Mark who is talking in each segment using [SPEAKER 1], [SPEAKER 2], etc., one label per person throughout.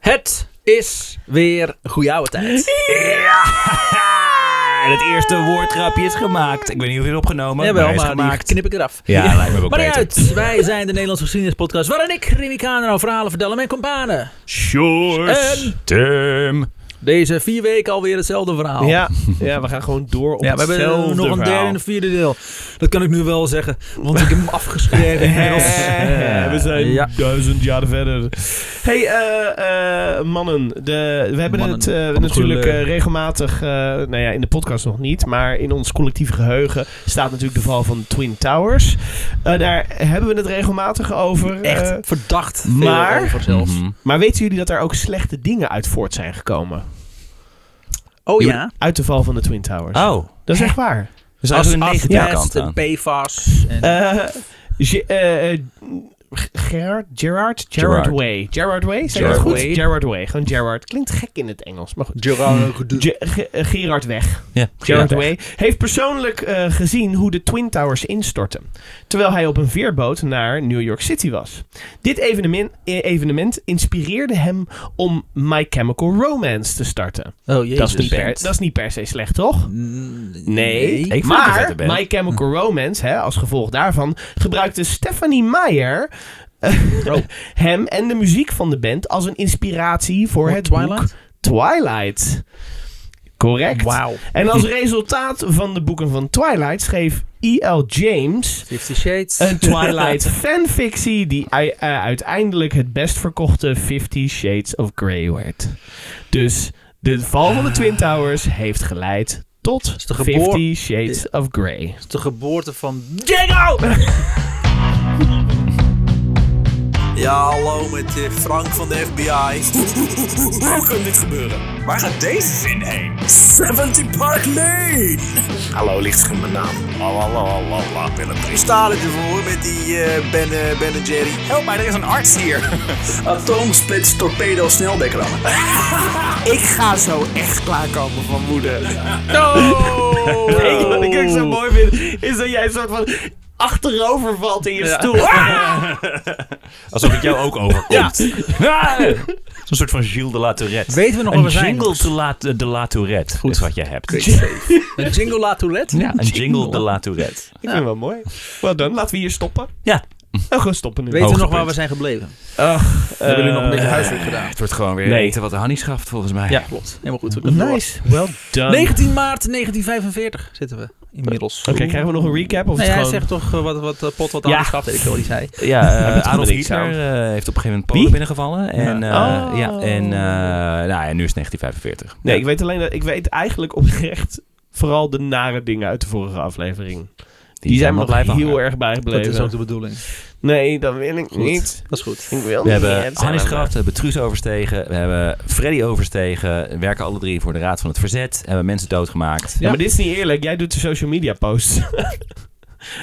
[SPEAKER 1] Het is weer goeie oude tijd.
[SPEAKER 2] Ja! En het eerste woordgrapje is gemaakt. Ik weet niet of je het opgenomen
[SPEAKER 1] Jawel,
[SPEAKER 2] hij is
[SPEAKER 1] maar die
[SPEAKER 2] gemaakt.
[SPEAKER 1] knip ik eraf.
[SPEAKER 2] Ja, lijkt me ook
[SPEAKER 1] Maar niet
[SPEAKER 2] beter.
[SPEAKER 1] uit, wij zijn de Nederlandse geschiedenispodcast waarin ik, Remy Kaner, verhalen vertel aan mijn kompanen.
[SPEAKER 2] Sjoerd.
[SPEAKER 1] En-
[SPEAKER 2] Tim.
[SPEAKER 1] Deze vier weken alweer hetzelfde verhaal.
[SPEAKER 3] Ja, ja, we gaan gewoon door op
[SPEAKER 2] Ja, we hebben
[SPEAKER 3] hetzelfde
[SPEAKER 1] eh, Nog een derde
[SPEAKER 3] verhaal.
[SPEAKER 1] en een vierde deel. Dat kan ik nu wel zeggen, want ik heb hem afgeschreven. inmiddels.
[SPEAKER 3] Eh, we zijn
[SPEAKER 1] Ja.
[SPEAKER 3] duizend jaar verder. hey, eh, eh, mannen. De, we hebben
[SPEAKER 1] Mannen.
[SPEAKER 3] het eh, natuurlijk eh, regelmatig, eh, nou ja, in de podcast nog niet, maar in ons collectieve geheugen staat natuurlijk de val van Twin Towers. Eh, daar hebben we het regelmatig over. eh,
[SPEAKER 1] Echt verdacht. veel
[SPEAKER 3] maar-
[SPEAKER 1] over zelfs.
[SPEAKER 2] Mhm.
[SPEAKER 3] maar weten jullie dat er ook slechte dingen uit voort zijn gekomen?
[SPEAKER 1] Oh ja.
[SPEAKER 3] Uit de val van de Twin Towers.
[SPEAKER 1] Ah.
[SPEAKER 2] Oh.
[SPEAKER 3] Dat is echt waar.
[SPEAKER 2] Dus als een
[SPEAKER 1] Asbest
[SPEAKER 2] negatieve kant
[SPEAKER 1] en
[SPEAKER 2] aan.
[SPEAKER 1] PFAS. En
[SPEAKER 3] Eh, Ge- eh, eh, G- Gerard? Gerard? Gerard
[SPEAKER 2] Gerard.
[SPEAKER 3] Way. Gerard Way? Zeg je
[SPEAKER 2] Gerard
[SPEAKER 3] dat goed?
[SPEAKER 1] Way.
[SPEAKER 3] Gerard Way. Gewoon Gerard. Klinkt gek in het Engels, maar goed. Ge- Ge- eh, Gerard Weg.
[SPEAKER 2] Ja.
[SPEAKER 3] Gerard
[SPEAKER 2] Ja.
[SPEAKER 3] Way heeft persoonlijk eh, gezien hoe de Twin Towers instortten. Terwijl hij op een veerboot naar New York City was. Dit evenement, eh, evenement inspireerde hem om My Chemical Romance te starten.
[SPEAKER 1] oh jezus. Mm,
[SPEAKER 3] Dat is, niet per, dat is niet per se slecht, toch?
[SPEAKER 1] Nee.
[SPEAKER 2] Ik vind het een
[SPEAKER 3] maar
[SPEAKER 2] vette band.
[SPEAKER 3] My Chemical Romance, hè, als gevolg daarvan, gebruikte Stephanie Meyer eh, hem en de muziek van de band als een inspiratie voor
[SPEAKER 1] Voor
[SPEAKER 3] het boek
[SPEAKER 1] Twilight?
[SPEAKER 3] Twilight. Correct.
[SPEAKER 1] Wauw.
[SPEAKER 3] En als resultaat van de boeken van Twilight schreef E.L. James
[SPEAKER 1] Fifty Shades.
[SPEAKER 3] een Twilight fanfictie die ui- eh, uiteindelijk het best verkochte Fifty Shades of Grey werd. Dus de val van de Twin Towers heeft geleid tot
[SPEAKER 1] de geboor-
[SPEAKER 3] Fifty Shades of Grey.
[SPEAKER 1] de geboorte van Django!
[SPEAKER 4] Ja, hallo met eh, Frank van de FBI. Hoe kan dit gebeuren? Waar gaat deze zin heen? 70 Park Lane! Hallo, ligt in mijn naam. Ik sta er ervoor met die eh, ben, eh, ben en Jerry. Help mij, er is een arts hier. Atoomsplits torpedo snelbekrammen. ik ga zo echt klaarkomen van moeder.
[SPEAKER 3] Hey, wat ik ook zo mooi vind, is dat jij een soort van achterover valt in je stoel.
[SPEAKER 2] Alsof het jou ook overkomt. Ja. Zo'n soort van Gilles de La Tourette.
[SPEAKER 1] Weten we nog
[SPEAKER 2] een
[SPEAKER 1] waar we zijn?
[SPEAKER 2] jingle de la, de la Tourette is wat je hebt.
[SPEAKER 1] Een Jingle La Tourette?
[SPEAKER 2] Ja, een jingle de La Tourette.
[SPEAKER 3] Ik vind het wel mooi. Wel dan, laten we hier stoppen.
[SPEAKER 2] Ja.
[SPEAKER 3] En gewoon stoppen nu. Eh,
[SPEAKER 1] Weten we nog
[SPEAKER 2] Hoogtepunt.
[SPEAKER 1] waar we zijn gebleven?
[SPEAKER 3] we hebben
[SPEAKER 1] nog een
[SPEAKER 2] eh,
[SPEAKER 1] beetje huiswerk gedaan.
[SPEAKER 2] Het wordt gewoon weer
[SPEAKER 3] Nee.
[SPEAKER 2] eten wat de Hannie schaft volgens mij.
[SPEAKER 1] Ja, klopt. Helemaal goed. We kunnen door.
[SPEAKER 3] Nice, well done.
[SPEAKER 1] 19 maart 1945 zitten we inmiddels.
[SPEAKER 3] Oké, krijgen we nog een recap? Of
[SPEAKER 1] Nee,
[SPEAKER 3] is
[SPEAKER 1] hij
[SPEAKER 3] het gewoon...
[SPEAKER 1] zegt toch eh, wat, wat eh, pot wat
[SPEAKER 3] Ja.
[SPEAKER 1] anders gaf, weet ik wel, die zei.
[SPEAKER 2] Ja, eh,
[SPEAKER 3] Hij bent
[SPEAKER 2] Adolf
[SPEAKER 3] gewoon niks
[SPEAKER 2] Hitler eh, heeft op een gegeven moment Polen
[SPEAKER 3] Wie?
[SPEAKER 2] binnengevallen. En,
[SPEAKER 3] Ja.
[SPEAKER 2] ja.
[SPEAKER 3] Oh.
[SPEAKER 2] ja, en eh, nou, ja, nu is het 1945.
[SPEAKER 3] Nee, ik weet alleen dat ik weet eigenlijk oprecht vooral de nare dingen uit de vorige aflevering. Die, zijn me
[SPEAKER 2] wel
[SPEAKER 3] nog heel
[SPEAKER 2] hangen.
[SPEAKER 3] erg bijgebleven.
[SPEAKER 1] Dat is ook de bedoeling.
[SPEAKER 3] Nee, dat wil ik
[SPEAKER 1] Goed.
[SPEAKER 3] niet.
[SPEAKER 1] Dat is goed.
[SPEAKER 3] Ik wil
[SPEAKER 2] We
[SPEAKER 3] niet.
[SPEAKER 2] hebben
[SPEAKER 3] zijn
[SPEAKER 2] Hannes
[SPEAKER 3] we-
[SPEAKER 2] Graft, we hebben Truus overstegen, we hebben Freddy overstegen. We werken alle drie voor de Raad van het Verzet. Hebben mensen doodgemaakt.
[SPEAKER 3] Ja, maar dit is niet eerlijk. Jij doet de social media posts.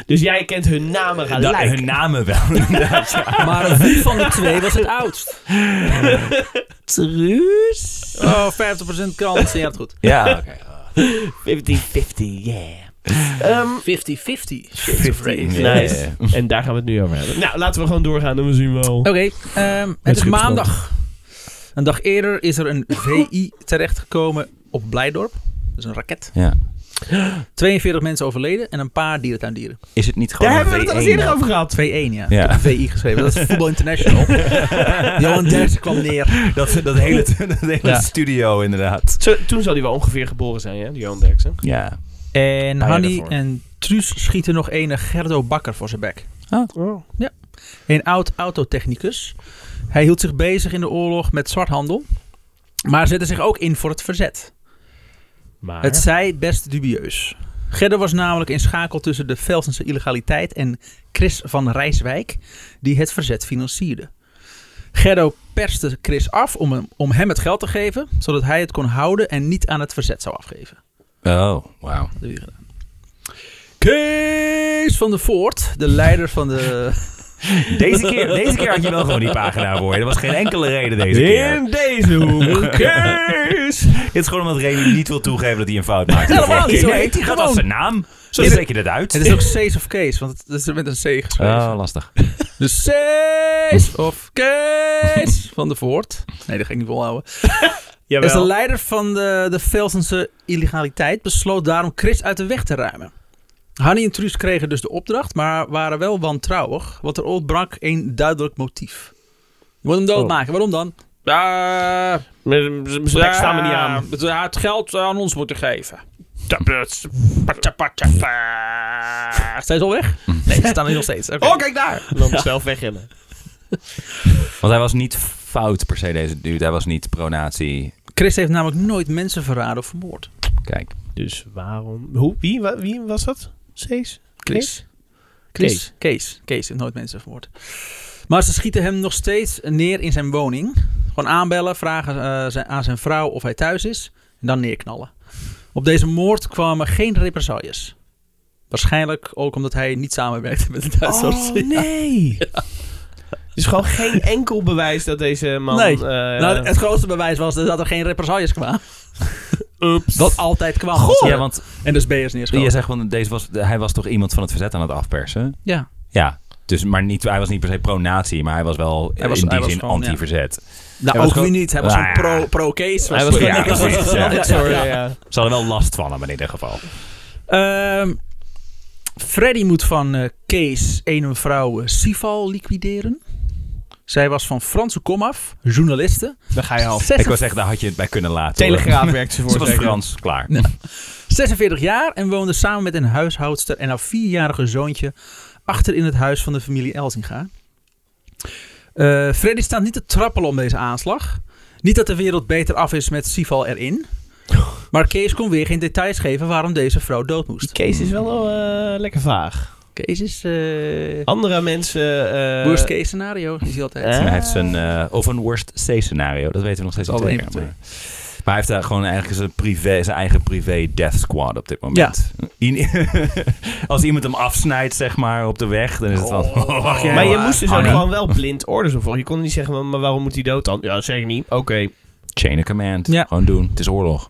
[SPEAKER 3] dus jij kent hun namen
[SPEAKER 2] Da-
[SPEAKER 3] gelijk.
[SPEAKER 2] hun namen wel. inderdaad, ja.
[SPEAKER 3] Ah.
[SPEAKER 1] Maar wie van de twee was het oudst?
[SPEAKER 3] Truus.
[SPEAKER 1] Oh, 50% kans. Ja, dat goed.
[SPEAKER 2] Ja, oké.
[SPEAKER 3] oh, 50-50, yeah. Ehm,
[SPEAKER 1] 50-50.
[SPEAKER 2] Ja,
[SPEAKER 3] Nice.
[SPEAKER 2] ja, ja.
[SPEAKER 3] en daar gaan we het nu over hebben. Nou, laten we gewoon doorgaan en we zien wel.
[SPEAKER 1] Oké, ehm, het is
[SPEAKER 3] Schipsloot.
[SPEAKER 1] maandag. Een dag eerder is er een VI terechtgekomen op Blijdorp. Dat is een raket.
[SPEAKER 2] Ja.
[SPEAKER 1] 42 mensen overleden en een paar dierentuindieren.
[SPEAKER 2] Is het niet gewoon
[SPEAKER 3] Daar
[SPEAKER 2] een
[SPEAKER 3] hebben we het al eens
[SPEAKER 2] V1
[SPEAKER 3] eerder over gehad.
[SPEAKER 1] 2-1, ja.
[SPEAKER 2] Ja.
[SPEAKER 1] Ik heb VI geschreven. Dat is Voetbal International. Johan Derksen kwam neer.
[SPEAKER 2] eh, Dat, dat hele, dat hele
[SPEAKER 1] Ja.
[SPEAKER 2] studio inderdaad.
[SPEAKER 3] Zo, toen zal hij wel ongeveer geboren zijn, hè, die Johan Derksen.
[SPEAKER 2] Ja.
[SPEAKER 1] En
[SPEAKER 3] Ah, ja,
[SPEAKER 1] Hanny
[SPEAKER 3] daarvoor.
[SPEAKER 1] en Truus schieten nog ene Gerdo Bakker voor zijn bek.
[SPEAKER 3] Oh.
[SPEAKER 1] Een oud autotechnicus. Hij hield zich bezig in de oorlog met zwarthandel. Maar zette zich ook in voor het verzet.
[SPEAKER 3] Maar...
[SPEAKER 1] Het zij best dubieus. Gerda was namelijk in schakel tussen de Velsense illegaliteit en Chris van Rijswijk, die het verzet financierde. Gerdo perste Chris af om hem, om hem het geld te geven, zodat hij het kon houden en niet aan het verzet zou afgeven.
[SPEAKER 2] Oh, wauw.
[SPEAKER 1] Dat heb je gedaan. Kees van de Voort, de leider van de
[SPEAKER 2] Deze keer, deze keer had je wel gewoon die pagina voor je. Er was geen enkele reden deze keer.
[SPEAKER 3] In deze hoek.
[SPEAKER 2] Kees! Dit is gewoon omdat Remy niet wil toegeven dat hij een fout maakt.
[SPEAKER 1] Helemaal
[SPEAKER 2] Vorige
[SPEAKER 1] niet.
[SPEAKER 2] keer.
[SPEAKER 1] Nee,
[SPEAKER 2] Nee, die gaat
[SPEAKER 1] gewoon.
[SPEAKER 2] als zijn naam. Zo
[SPEAKER 1] Dit-
[SPEAKER 2] spreek je dat uit.
[SPEAKER 1] Het is ook C's of Case, want het is met een C geschreven.
[SPEAKER 2] Oh, lastig.
[SPEAKER 1] De C's of Case van de Voort. Nee, dat ga ik niet volhouden. Is de
[SPEAKER 3] Jawel.
[SPEAKER 1] leider van de, de Velsense illegaliteit besloot daarom Chris uit de weg te ruimen. Hanni en Truus kregen dus de opdracht, maar waren wel wantrouwig, want er ontbrak een duidelijk motief. Je moet hem doodmaken, waarom dan? Oh. Dus Ja,
[SPEAKER 3] Ze staan me niet aan.
[SPEAKER 1] Het, het geld aan ons moeten geven. Steeds al weg? Nee, ze staan er nog steeds. Oké.
[SPEAKER 3] Oh, kijk daar! Dan zelf wegrennen.
[SPEAKER 2] Want hij was niet fout per se deze dude. Hij was niet pronatie.
[SPEAKER 1] Chris heeft namelijk nooit mensen verraden of vermoord.
[SPEAKER 2] Kijk.
[SPEAKER 3] Dus waarom... Hoe? Wie, Wa- wie was dat? Sees?
[SPEAKER 1] Chris. Chris. Kees. Kees heeft nooit mensen vermoord. Maar ze schieten hem nog steeds neer in zijn woning. Gewoon aanbellen, vragen eh, zijn- aan zijn vrouw of hij thuis is. En dan neerknallen. Op deze moord kwamen geen represailles. Waarschijnlijk ook omdat hij niet samenwerkte met de Duitsers.
[SPEAKER 3] Oh,
[SPEAKER 1] Ja.
[SPEAKER 3] nee! Dus gewoon geen enkel bewijs dat deze man...
[SPEAKER 1] Nee.
[SPEAKER 3] eh,
[SPEAKER 1] Nou, het grootste bewijs was dus dat er geen represailles kwamen.
[SPEAKER 3] Ups.
[SPEAKER 1] Wat altijd kwam.
[SPEAKER 2] Ja, want
[SPEAKER 1] En dus BS
[SPEAKER 2] je
[SPEAKER 1] neerschoten.
[SPEAKER 2] zegt, want deze was, hij was toch iemand van het verzet aan het afpersen?
[SPEAKER 1] Ja.
[SPEAKER 2] Ja. Dus, maar niet, hij was niet per se pro-natie, maar hij was wel eh,
[SPEAKER 1] Hij was-
[SPEAKER 2] in
[SPEAKER 1] hij
[SPEAKER 2] die
[SPEAKER 1] was
[SPEAKER 2] zin
[SPEAKER 1] gewoon, ja.
[SPEAKER 2] anti-verzet.
[SPEAKER 1] Nou,
[SPEAKER 2] was
[SPEAKER 1] ook
[SPEAKER 2] gewoon-
[SPEAKER 1] weer niet. Hij was
[SPEAKER 2] Nou
[SPEAKER 1] een
[SPEAKER 2] ja.
[SPEAKER 1] pro- pro-case.
[SPEAKER 3] Hij was
[SPEAKER 2] Ja,
[SPEAKER 1] niks.
[SPEAKER 2] precies, ja.
[SPEAKER 1] Ja,
[SPEAKER 3] Sorry,
[SPEAKER 1] ja.
[SPEAKER 3] ja.
[SPEAKER 2] Ze hadden wel last van hem in ieder geval.
[SPEAKER 1] Ehm, Freddy moet van eh, Kees een en vrouw eh, Sival liquideren. Zij was van Franse komaf, journaliste.
[SPEAKER 3] Dan ga je al.
[SPEAKER 2] Ik wil
[SPEAKER 1] Zesenzestig-
[SPEAKER 2] zeggen, daar had je het bij kunnen laten. hoor.
[SPEAKER 3] Telegraaf werkt ze voor.
[SPEAKER 2] Ze was
[SPEAKER 3] zeker.
[SPEAKER 2] Frans, klaar.
[SPEAKER 1] Nee. 46 jaar en woonde samen met een huishoudster en haar vierjarige zoontje achter in het huis van de familie Elsinga. Eh, Freddy staat niet te trappelen om deze aanslag. Niet dat de wereld beter af is met Sival erin. Maar Kees kon weer geen details geven waarom deze vrouw dood
[SPEAKER 3] Die
[SPEAKER 1] moest.
[SPEAKER 3] case is wel eh, lekker vaag.
[SPEAKER 1] Kees is... eh
[SPEAKER 3] Andere mensen... eh
[SPEAKER 1] worst case scenario is hij altijd.
[SPEAKER 3] Eh?
[SPEAKER 2] Hij heeft zijn, eh, of een worst C scenario, dat weten we nog steeds niet
[SPEAKER 1] Alleen
[SPEAKER 2] zeker,
[SPEAKER 1] maar
[SPEAKER 2] Maar, maar hij heeft daar gewoon eigenlijk zijn, privé, zijn eigen privé death squad op dit moment. In- Als iemand hem afsnijdt, zeg maar, op de weg, dan is het wel...
[SPEAKER 1] Oh,
[SPEAKER 2] wacht jij
[SPEAKER 3] Maar je
[SPEAKER 2] wel,
[SPEAKER 3] moest dus ook
[SPEAKER 2] Hanni.
[SPEAKER 3] gewoon wel blind orders opvolgen. Je kon niet zeggen, maar waarom moet hij dood dan? Ja, dat zeg ik niet. Oké.
[SPEAKER 2] Chain of command,
[SPEAKER 1] Ja.
[SPEAKER 2] gewoon doen. Het is oorlog.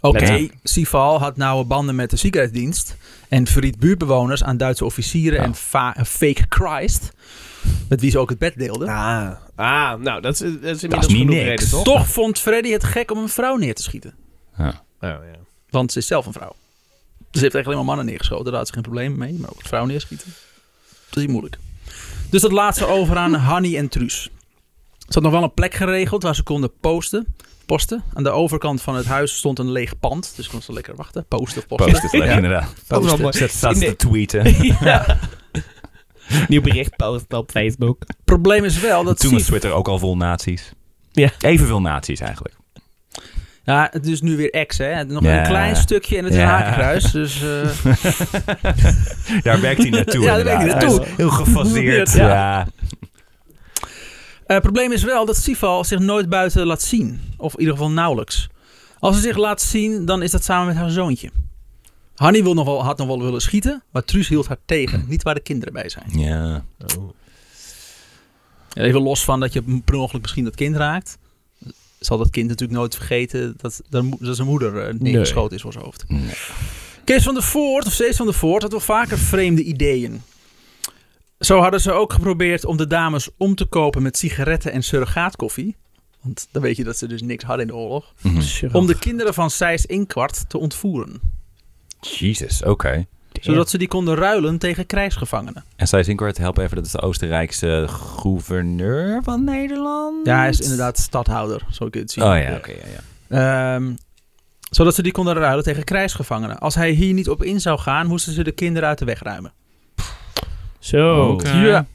[SPEAKER 1] Oké,
[SPEAKER 2] Letter.
[SPEAKER 1] E. Sival had nauwe banden met de ziekenhuisdienst en verriet buurtbewoners aan Duitse officieren
[SPEAKER 2] Ja.
[SPEAKER 1] en fa- en fake Christ, met wie ze ook het bed deelden.
[SPEAKER 3] Ah. Ah, nou, dat is, dat is inmiddels
[SPEAKER 2] Dat is niet
[SPEAKER 3] genoeg
[SPEAKER 2] niks.
[SPEAKER 3] reden, toch?
[SPEAKER 1] Toch vond Freddy het gek om een vrouw neer te schieten,
[SPEAKER 2] Ja.
[SPEAKER 3] Oh, ja.
[SPEAKER 1] want ze is zelf een vrouw. Dus ze heeft eigenlijk alleen maar mannen neergeschoten, daar had ze geen probleem mee, maar ook vrouwen neerschieten. Dat is niet moeilijk. Dus dat laat ze over aan Hanny en Truus. Ze had nog wel een plek geregeld waar ze konden posten. Posten. Aan de overkant van het huis stond een leeg pand. Dus kon ze lekker wachten. Posten, posten.
[SPEAKER 2] Post is leuk,
[SPEAKER 1] Ja.
[SPEAKER 2] inderdaad.
[SPEAKER 3] Dat is wel mooi.
[SPEAKER 2] Zet staat ze
[SPEAKER 3] Nee.
[SPEAKER 2] te tweeten.
[SPEAKER 3] Nieuw bericht post op Facebook.
[SPEAKER 1] Probleem is wel dat
[SPEAKER 2] Toen was
[SPEAKER 1] Siv-
[SPEAKER 2] Twitter ook al vol nazi's.
[SPEAKER 3] Ja.
[SPEAKER 2] Evenveel nazi's eigenlijk.
[SPEAKER 1] Ja, het is nu weer ex, hè? Nog
[SPEAKER 2] Ja.
[SPEAKER 1] een klein stukje en het is
[SPEAKER 2] Ja.
[SPEAKER 1] een hakenkruis. Dus, eh,
[SPEAKER 2] Daar werkt hij naartoe.
[SPEAKER 1] Ja, daar werkt hij
[SPEAKER 2] inderdaad.
[SPEAKER 1] naartoe.
[SPEAKER 2] is Heel gefaseerd.
[SPEAKER 1] Ja.
[SPEAKER 2] ja.
[SPEAKER 1] eh, probleem is wel dat Sival zich nooit buiten laat zien. Of in ieder geval nauwelijks. Als ze zich laat zien, dan is dat samen met haar zoontje. Hanni wil nog wel, had nog wel willen schieten, maar Truus hield haar tegen. Niet waar de kinderen bij zijn.
[SPEAKER 2] ja.
[SPEAKER 1] En Even los van dat je per ongeluk misschien dat kind raakt. Zal dat kind natuurlijk nooit vergeten dat, dat, mo- dat zijn moeder eh, neergeschoten is voor zijn hoofd.
[SPEAKER 2] Nee.
[SPEAKER 1] Kees van der Voort, of Cees van der Voort, had wel vaker vreemde ideeën. Zo hadden ze ook geprobeerd om de dames om te kopen met sigaretten en surrogaatkoffie. Want dan weet je dat ze dus niks hadden in de oorlog.
[SPEAKER 2] Mhm.
[SPEAKER 1] Om de kinderen van Seys Inkwart te ontvoeren.
[SPEAKER 2] Jezus, oké.
[SPEAKER 1] Zodat ze die konden ruilen tegen krijgsgevangenen.
[SPEAKER 2] En Sai Zinkwart, help even, dat is de Oostenrijkse gouverneur van Nederland.
[SPEAKER 1] Ja, hij is inderdaad stadhouder, zo kun je het zien.
[SPEAKER 2] Oh ja, oké. ja, ja.
[SPEAKER 1] Ehm, zodat ze die konden ruilen tegen krijgsgevangenen. Als hij hier niet op in zou gaan, moesten ze de kinderen uit de weg ruimen.
[SPEAKER 3] Zo.
[SPEAKER 2] Oké.
[SPEAKER 1] Ja.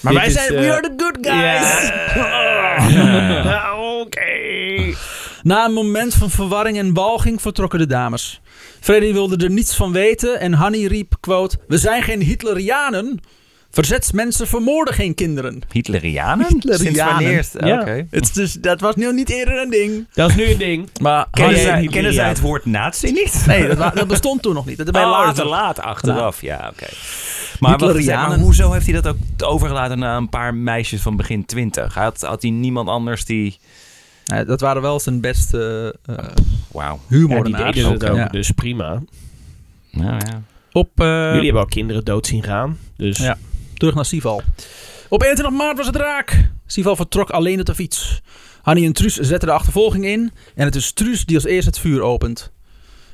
[SPEAKER 1] Maar
[SPEAKER 3] Dit
[SPEAKER 1] wij
[SPEAKER 3] is,
[SPEAKER 1] zijn,
[SPEAKER 3] eh,
[SPEAKER 1] we are the good guys.
[SPEAKER 3] Ja. Nou, Oké.
[SPEAKER 1] Na een moment van verwarring en walging vertrokken de dames. Freddy wilde er niets van weten en Hanni riep, quote, We zijn geen Hitlerianen. Verzetsmensen vermoorden geen kinderen.
[SPEAKER 2] Hitlerianen?
[SPEAKER 1] Hitlerianen.
[SPEAKER 2] Sinds wanneer? is het-
[SPEAKER 3] Ja.
[SPEAKER 2] Oké.
[SPEAKER 1] Het is dus, dat was nu niet eerder een ding.
[SPEAKER 3] Dat is nu een ding.
[SPEAKER 1] Maar
[SPEAKER 2] Kennen,
[SPEAKER 3] Hanni
[SPEAKER 2] zij,
[SPEAKER 3] en Hitlerianen.
[SPEAKER 2] kennen zij het woord nazi niet?
[SPEAKER 1] Nee, dat, wa- dat bestond toen nog niet. Dat erbij
[SPEAKER 2] Oh,
[SPEAKER 1] later.
[SPEAKER 2] te laat achteraf. Ja, oké. Maar, wat, zeg maar
[SPEAKER 1] Hitlerianen.
[SPEAKER 2] hoezo heeft hij dat ook overgelaten naar een paar meisjes van begin twintig? Had, had hij niemand anders die...
[SPEAKER 1] Ja, dat waren wel zijn beste eh
[SPEAKER 2] Wauw.
[SPEAKER 3] Ja, die
[SPEAKER 1] huurmoordenaars.
[SPEAKER 3] deden het ook,
[SPEAKER 1] Ja.
[SPEAKER 3] dus prima.
[SPEAKER 2] Nou ja.
[SPEAKER 1] Op, eh,
[SPEAKER 3] Jullie hebben al kinderen dood zien gaan. Dus
[SPEAKER 1] Ja. Terug naar Sival. Op 21 maart was het raak. Sival vertrok alleen op de fiets. Hanni en Truus zetten de achtervolging in. En het is Truus die als eerst het vuur opent.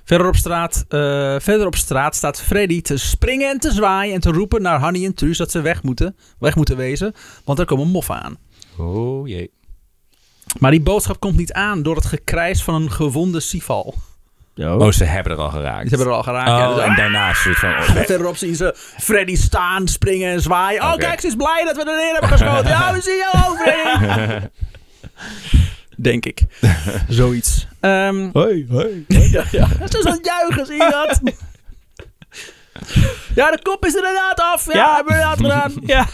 [SPEAKER 1] Verder op, straat, eh, verder op straat staat Freddy te springen en te zwaaien en te roepen naar Hanni en Truus dat ze weg moeten, weg moeten wezen, want er komen moffen aan.
[SPEAKER 2] Oh jee.
[SPEAKER 1] Maar die boodschap komt niet aan door het gekrijs van een gewonde Sival.
[SPEAKER 2] Oh, ze hebben er al geraakt.
[SPEAKER 1] Die hebben er al geraakt. ja, dus-
[SPEAKER 2] Oh, en daarna zit van... oh,
[SPEAKER 1] En verderop zien ze Freddy staan, springen en zwaaien. Oh,
[SPEAKER 2] Oké.
[SPEAKER 1] kijk, ze is blij dat we erin hebben geschoten. Ja, we zien jou over. Freddy. Denk ik. Zoiets. Ehm,
[SPEAKER 3] Hoi, hoi.
[SPEAKER 1] ja, ja. Ze is aan het juichen, zie je dat? Ja, de kop is inderdaad af. Ja,
[SPEAKER 3] Ja.
[SPEAKER 1] hebben we inderdaad gedaan. Ja.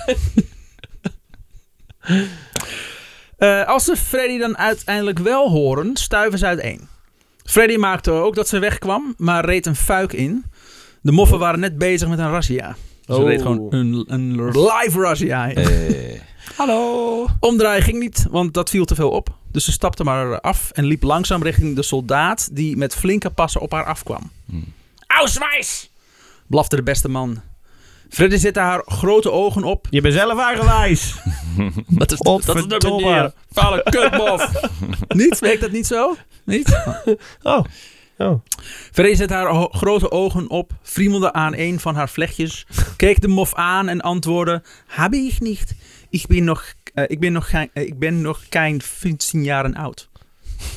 [SPEAKER 1] Eh, als ze Freddy dan uiteindelijk wel horen, stuiven ze uiteen. Freddy maakte ook dat ze wegkwam, maar reed een fuik in. De moffen waren net bezig met een razzia. Ze
[SPEAKER 3] Oh.
[SPEAKER 1] reed gewoon een, een live razzia. in.
[SPEAKER 2] eh.
[SPEAKER 1] Hallo. Omdraaien ging niet, want dat viel te veel op. Dus ze stapte maar af en liep langzaam richting de soldaat die met flinke passen op haar afkwam.
[SPEAKER 2] Hmm.
[SPEAKER 1] Auswijs! blafte de beste man. Freddy zette haar grote ogen op.
[SPEAKER 3] Je bent zelf eigenwijs.
[SPEAKER 1] Dat is, dat is de
[SPEAKER 3] Godverdomme.
[SPEAKER 1] manier. Vuile kutbof. niet? Werkt dat niet zo? Niet?
[SPEAKER 3] Oh. oh.
[SPEAKER 1] Freddy zette haar ho- grote ogen op, friemelde aan een van haar vlechtjes, keek de mof aan en antwoordde: Habe ich nicht. Ik ben nog, eh, ik ben nog, geen- eh, ik ben nog geen 15 jaren oud.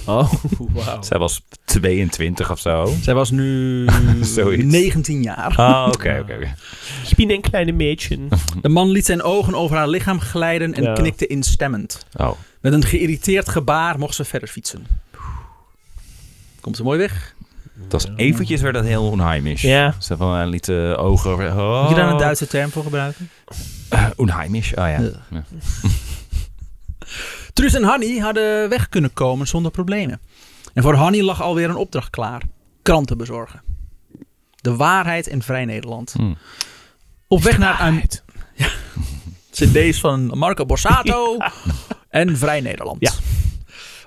[SPEAKER 3] Oh, wauw.
[SPEAKER 2] Zij was 22 of zo.
[SPEAKER 1] Zij was nu
[SPEAKER 2] Zoiets.
[SPEAKER 1] 19 jaar.
[SPEAKER 2] Oh, oké, oké. oké.
[SPEAKER 3] Ik ben een kleine meisje.
[SPEAKER 1] De man liet zijn ogen over haar lichaam glijden en
[SPEAKER 3] Ja.
[SPEAKER 1] knikte instemmend.
[SPEAKER 2] Oh.
[SPEAKER 1] Met een geïrriteerd gebaar mocht ze verder fietsen. Komt ze mooi weg?
[SPEAKER 2] Het was eventjes werd dat heel onheimisch.
[SPEAKER 3] Ja.
[SPEAKER 2] Ze van, eh, liet de ogen... over- Oh.
[SPEAKER 1] Moet je daar een Duitse term voor gebruiken?
[SPEAKER 2] Eh, Onheimisch, oh ja.
[SPEAKER 1] Ja.
[SPEAKER 2] Ja.
[SPEAKER 1] Truus en Hanny hadden weg kunnen komen zonder problemen. En voor Hanny lag alweer een opdracht klaar: kranten bezorgen. De waarheid in Vrij Nederland.
[SPEAKER 2] Hmm.
[SPEAKER 1] Op weg naar een. Ja. CD's van Marco Borsato en Vrij Nederland.
[SPEAKER 3] Ja.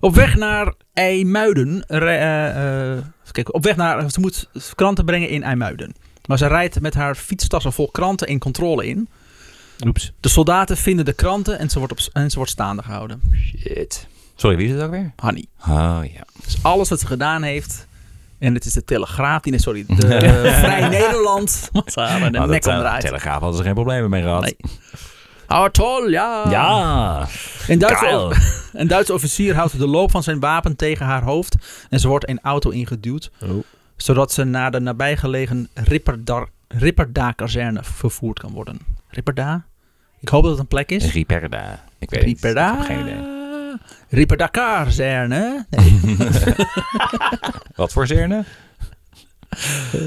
[SPEAKER 1] Op weg naar IJmuiden. re- eh, eh, even kijken, op weg naar. Ze moet kranten brengen in IJmuiden. Maar ze rijdt met haar fietstassen vol kranten in controle in.
[SPEAKER 3] Oeps.
[SPEAKER 1] De soldaten vinden de kranten en ze wordt, op, en ze wordt staande gehouden.
[SPEAKER 2] Shit. Sorry, wie is het ook weer?
[SPEAKER 1] Hanny.
[SPEAKER 2] Oh ja.
[SPEAKER 1] Dus alles wat ze gedaan heeft. En het is de Telegraaf, die, nee, sorry, de eh, Vrij Nederland. Want ze hadden de
[SPEAKER 2] Nou,
[SPEAKER 1] nek
[SPEAKER 2] dat, eh,
[SPEAKER 1] omdraait.
[SPEAKER 2] Telegraaf hadden ze geen problemen mee gehad.
[SPEAKER 1] Nee. Oh, tol, ja.
[SPEAKER 2] Ja.
[SPEAKER 1] Een
[SPEAKER 2] Kyle.
[SPEAKER 1] Duitse, een Duitse officier houdt de loop van zijn wapen tegen haar hoofd. En ze wordt een auto ingeduwd.
[SPEAKER 3] Oh.
[SPEAKER 1] Zodat ze naar de nabijgelegen Ripperda- Ripperda-kazerne vervoerd kan worden. Ripperda? Ik hoop dat het een plek is.
[SPEAKER 2] Ripperda. Ik weet het.
[SPEAKER 1] Ripperda?
[SPEAKER 2] Ik heb geen idee.
[SPEAKER 1] Ripperda-kazerne.
[SPEAKER 2] Wat voor zerne?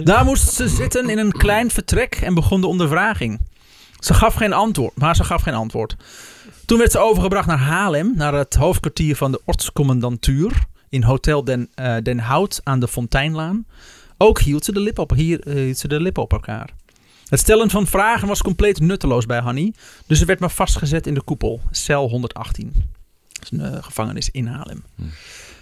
[SPEAKER 1] Daar moest ze zitten in een klein vertrek en begon de ondervraging. Ze gaf geen antwoord, maar ze gaf geen antwoord. Toen werd ze overgebracht naar Haarlem, naar het hoofdkwartier van de ortscommandantuur in Hotel Den, eh, Den Hout aan de Fonteinlaan. Ook hield ze de lip op, hier, eh, hield ze de lip op elkaar. Het stellen van vragen was compleet nutteloos bij Hanny, dus ze werd maar vastgezet in de koepel, cel 118. Dat is een eh, gevangenis in Haarlem.
[SPEAKER 2] Hm.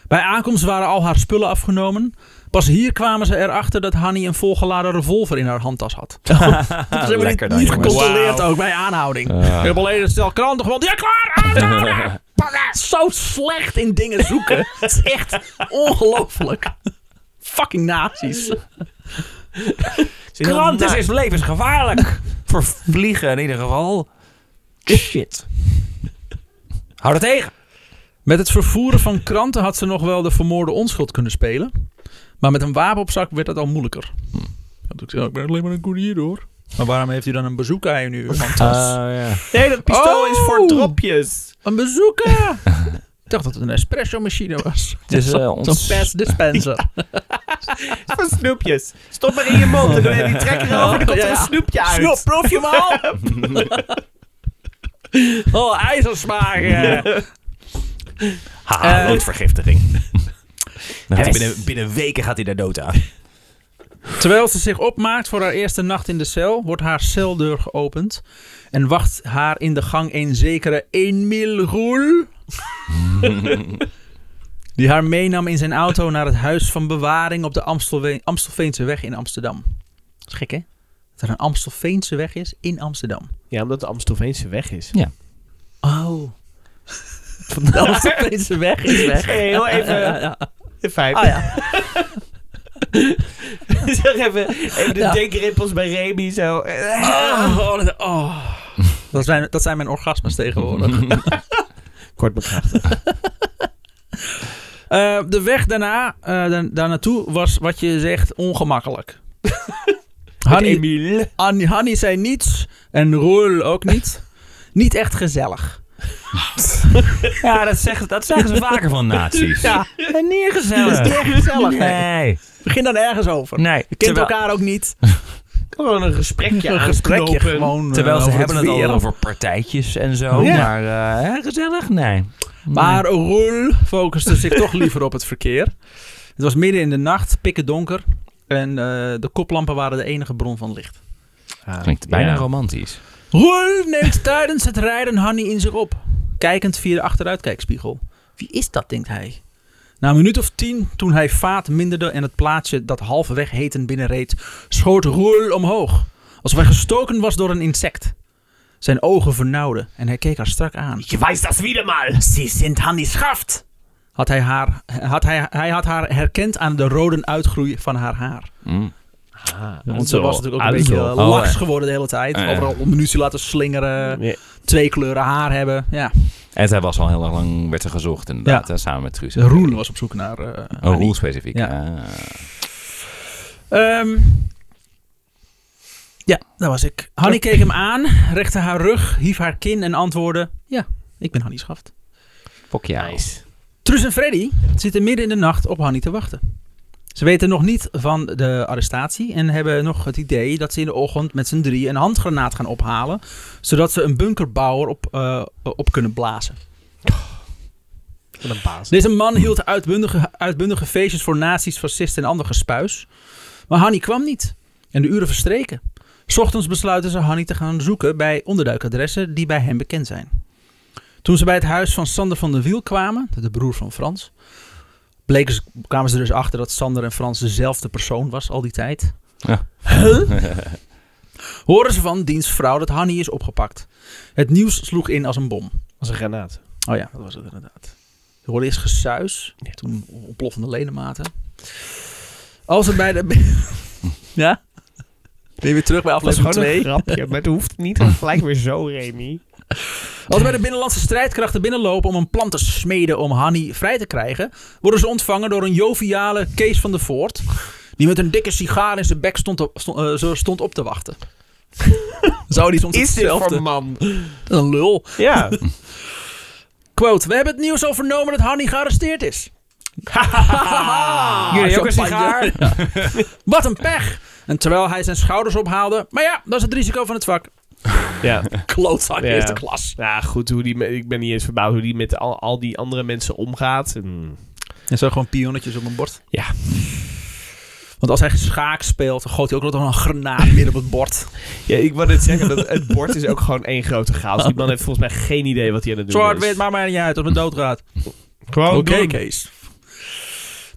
[SPEAKER 1] Bij aankomst waren al haar spullen afgenomen. Pas hier kwamen ze erachter dat Hanny een volgeladen revolver in haar handtas had. Dat is helemaal
[SPEAKER 2] Lekker
[SPEAKER 1] niet,
[SPEAKER 2] dan,
[SPEAKER 1] niet
[SPEAKER 2] jongens.
[SPEAKER 1] gecontroleerd ook bij aanhouding. Ik heb alleen een stel kranten gewoon. Ja, klaar! aanhouden! Pak het! Zo slecht in dingen zoeken. Het is echt ongelooflijk. Fucking nazi's.
[SPEAKER 2] Kranten is dus levensgevaarlijk. voor vliegen Nou. in ieder geval. Shit. Hou dat tegen.
[SPEAKER 1] Met het vervoeren van kranten had ze nog wel de vermoorde onschuld kunnen spelen. Maar met een wapen op zak werd dat al moeilijker. Want ik zei, ik ben alleen maar een koerier hoor. Maar waarom heeft u dan een bezoeker aan nu?
[SPEAKER 2] Oh, ja.
[SPEAKER 3] Nee, dat pistool
[SPEAKER 1] Oh.
[SPEAKER 3] is voor dropjes.
[SPEAKER 1] Een bezoeker! ik dacht dat het een espresso-machine was.
[SPEAKER 2] Het is eh,
[SPEAKER 1] Zo'n
[SPEAKER 2] ons...
[SPEAKER 1] pers dispenser.
[SPEAKER 3] Voor snoepjes. Stop maar in je mond. Dan doe je die trekker over. Dan komt er een snoepje uit.
[SPEAKER 1] Snoep, proef je hem al? oh, ijzersmaken!
[SPEAKER 2] Haha,
[SPEAKER 1] Eh.
[SPEAKER 2] loodvergiftiging. Dan gaat Ah, hij
[SPEAKER 3] Yes.
[SPEAKER 2] binnen, binnen weken gaat hij daar dood aan.
[SPEAKER 1] Terwijl ze zich opmaakt voor haar eerste nacht in de cel, wordt haar celdeur geopend. En wacht haar in de gang een zekere Emil Roel. die haar meenam in zijn auto naar het huis van bewaring op de Amstelveen, Amstelveense weg in Amsterdam. Dat is gek, hè? Dat er een Amstelveense weg is in Amsterdam.
[SPEAKER 3] Ja, omdat de Amstelveense weg is.
[SPEAKER 1] Oh. Van de Amstelveense weg is weg.
[SPEAKER 3] Heel even in feite.
[SPEAKER 1] Ah ja.
[SPEAKER 3] zeg even, even de
[SPEAKER 1] Ja.
[SPEAKER 3] dekrippels bij Remy zo. Eh,
[SPEAKER 1] Oh, dat- oh. Dat, zijn, dat zijn mijn orgasmes tegenwoordig.
[SPEAKER 3] Kort bekrachtigd.
[SPEAKER 1] Eh, de weg daarna, eh, daar, daar naartoe was wat je zegt ongemakkelijk. Hanni,
[SPEAKER 3] Emile.
[SPEAKER 1] Hanni, Hanni zei niets en Roel ook niet. Niet echt gezellig.
[SPEAKER 2] Ja, dat, zegt, dat zeggen ze vaker van nazi's.
[SPEAKER 1] Ja, en niet gezellig.
[SPEAKER 2] Het is
[SPEAKER 1] echt gezellig.
[SPEAKER 2] Nee.
[SPEAKER 1] Begin dan ergens over.
[SPEAKER 2] Nee.
[SPEAKER 1] Je kent
[SPEAKER 2] Terwijl,
[SPEAKER 1] elkaar ook niet.
[SPEAKER 3] Gewoon een gesprekje
[SPEAKER 1] een gesprekje
[SPEAKER 3] aanknopen.
[SPEAKER 1] gewoon. eh,
[SPEAKER 2] terwijl ze
[SPEAKER 1] over
[SPEAKER 2] hebben het
[SPEAKER 1] weer.
[SPEAKER 2] al over partijtjes en zo.
[SPEAKER 3] Ja.
[SPEAKER 2] Maar eh, hè, gezellig? Nee.
[SPEAKER 1] Maar Roel focuste zich toch liever op het verkeer. Het was midden in de nacht, pikken donker. En eh, de koplampen waren de enige bron van licht.
[SPEAKER 2] Klinkt bijna
[SPEAKER 3] Ja.
[SPEAKER 2] romantisch.
[SPEAKER 1] Roel neemt tijdens het rijden Hanny in zich op. Kijkend via de achteruitkijkspiegel. Wie is dat, denkt hij. Na een minuut of tien, toen hij vaat minderde en het plaatsje dat halverweg heten binnenreed, schoot Roel omhoog. Alsof hij gestoken was door een insect. Zijn ogen vernauwden en hij keek haar strak aan.
[SPEAKER 3] Je wijst dat wieder mal.
[SPEAKER 1] Ze sind Hanni schaft. Had hij, haar, had hij, hij had haar herkend aan de rode uitgroei van haar haar.
[SPEAKER 2] Mm.
[SPEAKER 3] Ah.
[SPEAKER 1] Want ze was natuurlijk ook een
[SPEAKER 3] Also.
[SPEAKER 1] beetje eh,
[SPEAKER 2] Oh,
[SPEAKER 1] laks
[SPEAKER 2] ja.
[SPEAKER 1] geworden de hele tijd.
[SPEAKER 2] Ah, ja.
[SPEAKER 1] Overal munitie laten slingeren.
[SPEAKER 3] Ja.
[SPEAKER 1] Twee kleuren haar hebben. Ja.
[SPEAKER 2] En zij was al heel erg lang, werd ze gezocht inderdaad, hè, samen met Truus.
[SPEAKER 1] De Roel was op zoek naar... eh,
[SPEAKER 2] Oh,
[SPEAKER 1] Hanni.
[SPEAKER 2] Roel specifiek.
[SPEAKER 1] Ja.
[SPEAKER 2] Ah.
[SPEAKER 1] Ehm, ja, daar was ik. Hanni keek hem aan, rechtte haar rug, hief haar kin en antwoordde... Ja, ik ben Hanni Schaft.
[SPEAKER 2] Fok jou.
[SPEAKER 3] Nice.
[SPEAKER 1] Truus en Freddy zitten midden in de nacht op Hanni te wachten. Ze weten nog niet van de arrestatie en hebben nog het idee dat ze in de ochtend met z'n drie een handgranaat gaan ophalen, zodat ze een bunkerbouwer op, eh, op kunnen blazen.
[SPEAKER 3] Wat een baas.
[SPEAKER 1] Deze man hield uitbundige, uitbundige feestjes voor nazi's, fascisten en ander gespuis. Maar Hanni kwam niet en de uren verstreken. 's Ochtends besluiten ze Hanni te gaan zoeken bij onderduikadressen die bij hem bekend zijn. Toen ze bij het huis van Sander van der Wiel kwamen, de broer van Frans, bleken ze, kwamen ze er dus achter dat Sander en Frans dezelfde persoon was al die tijd.
[SPEAKER 2] Ja.
[SPEAKER 1] Huh? Horen ze van diens vrouw dat Hanni is opgepakt. Het nieuws sloeg in als een bom.
[SPEAKER 3] was een granaat.
[SPEAKER 1] Oh ja, dat was het inderdaad. Je hoorde eerst gesuis,
[SPEAKER 3] Ja.
[SPEAKER 1] toen ontploffende ledematen. Als er bij de... ja? Ben je weer terug bij
[SPEAKER 3] was
[SPEAKER 1] aflevering
[SPEAKER 3] gewoon
[SPEAKER 1] 2?
[SPEAKER 3] een grapje, maar het hoeft niet gelijk weer zo, Remy.
[SPEAKER 1] Als bij de binnenlandse strijdkrachten binnenlopen om een plan te smeden om Hanni vrij te krijgen, worden ze ontvangen door een joviale Kees van der Voort, die met een dikke sigaar in zijn bek stond op, stond, eh, zo stond op te wachten. Zou die soms
[SPEAKER 3] Is dit
[SPEAKER 1] hetzelfde?
[SPEAKER 3] voor man?
[SPEAKER 1] Een lul.
[SPEAKER 3] Ja.
[SPEAKER 1] Quote, we hebben het nieuws al vernomen dat Hanni gearresteerd is.
[SPEAKER 2] Jullie ook een
[SPEAKER 1] Champagne. Ja. Wat een pech. En terwijl hij zijn schouders ophaalde, maar ja, dat is het risico van het vak.
[SPEAKER 3] ja.
[SPEAKER 1] Klootzak
[SPEAKER 3] Ja.
[SPEAKER 1] eerste klas.
[SPEAKER 3] Nou goed, hoe die, me- ik ben niet eens verbaasd hoe die met al, al die andere mensen omgaat. Hmm.
[SPEAKER 1] En zo gewoon pionnetjes op een bord.
[SPEAKER 3] Ja.
[SPEAKER 1] Want als hij schaak speelt, dan gooit hij ook nog een granaat midden op het bord.
[SPEAKER 3] Ja, ik wou net zeggen, dat het bord is ook gewoon één grote chaos. Die man heeft volgens mij geen idee wat hij aan het doen is.
[SPEAKER 1] Zwart-wit, maakt mij niet uit als het doodgaat.
[SPEAKER 3] Gewoon
[SPEAKER 1] Oké,
[SPEAKER 3] doen.
[SPEAKER 1] Kees.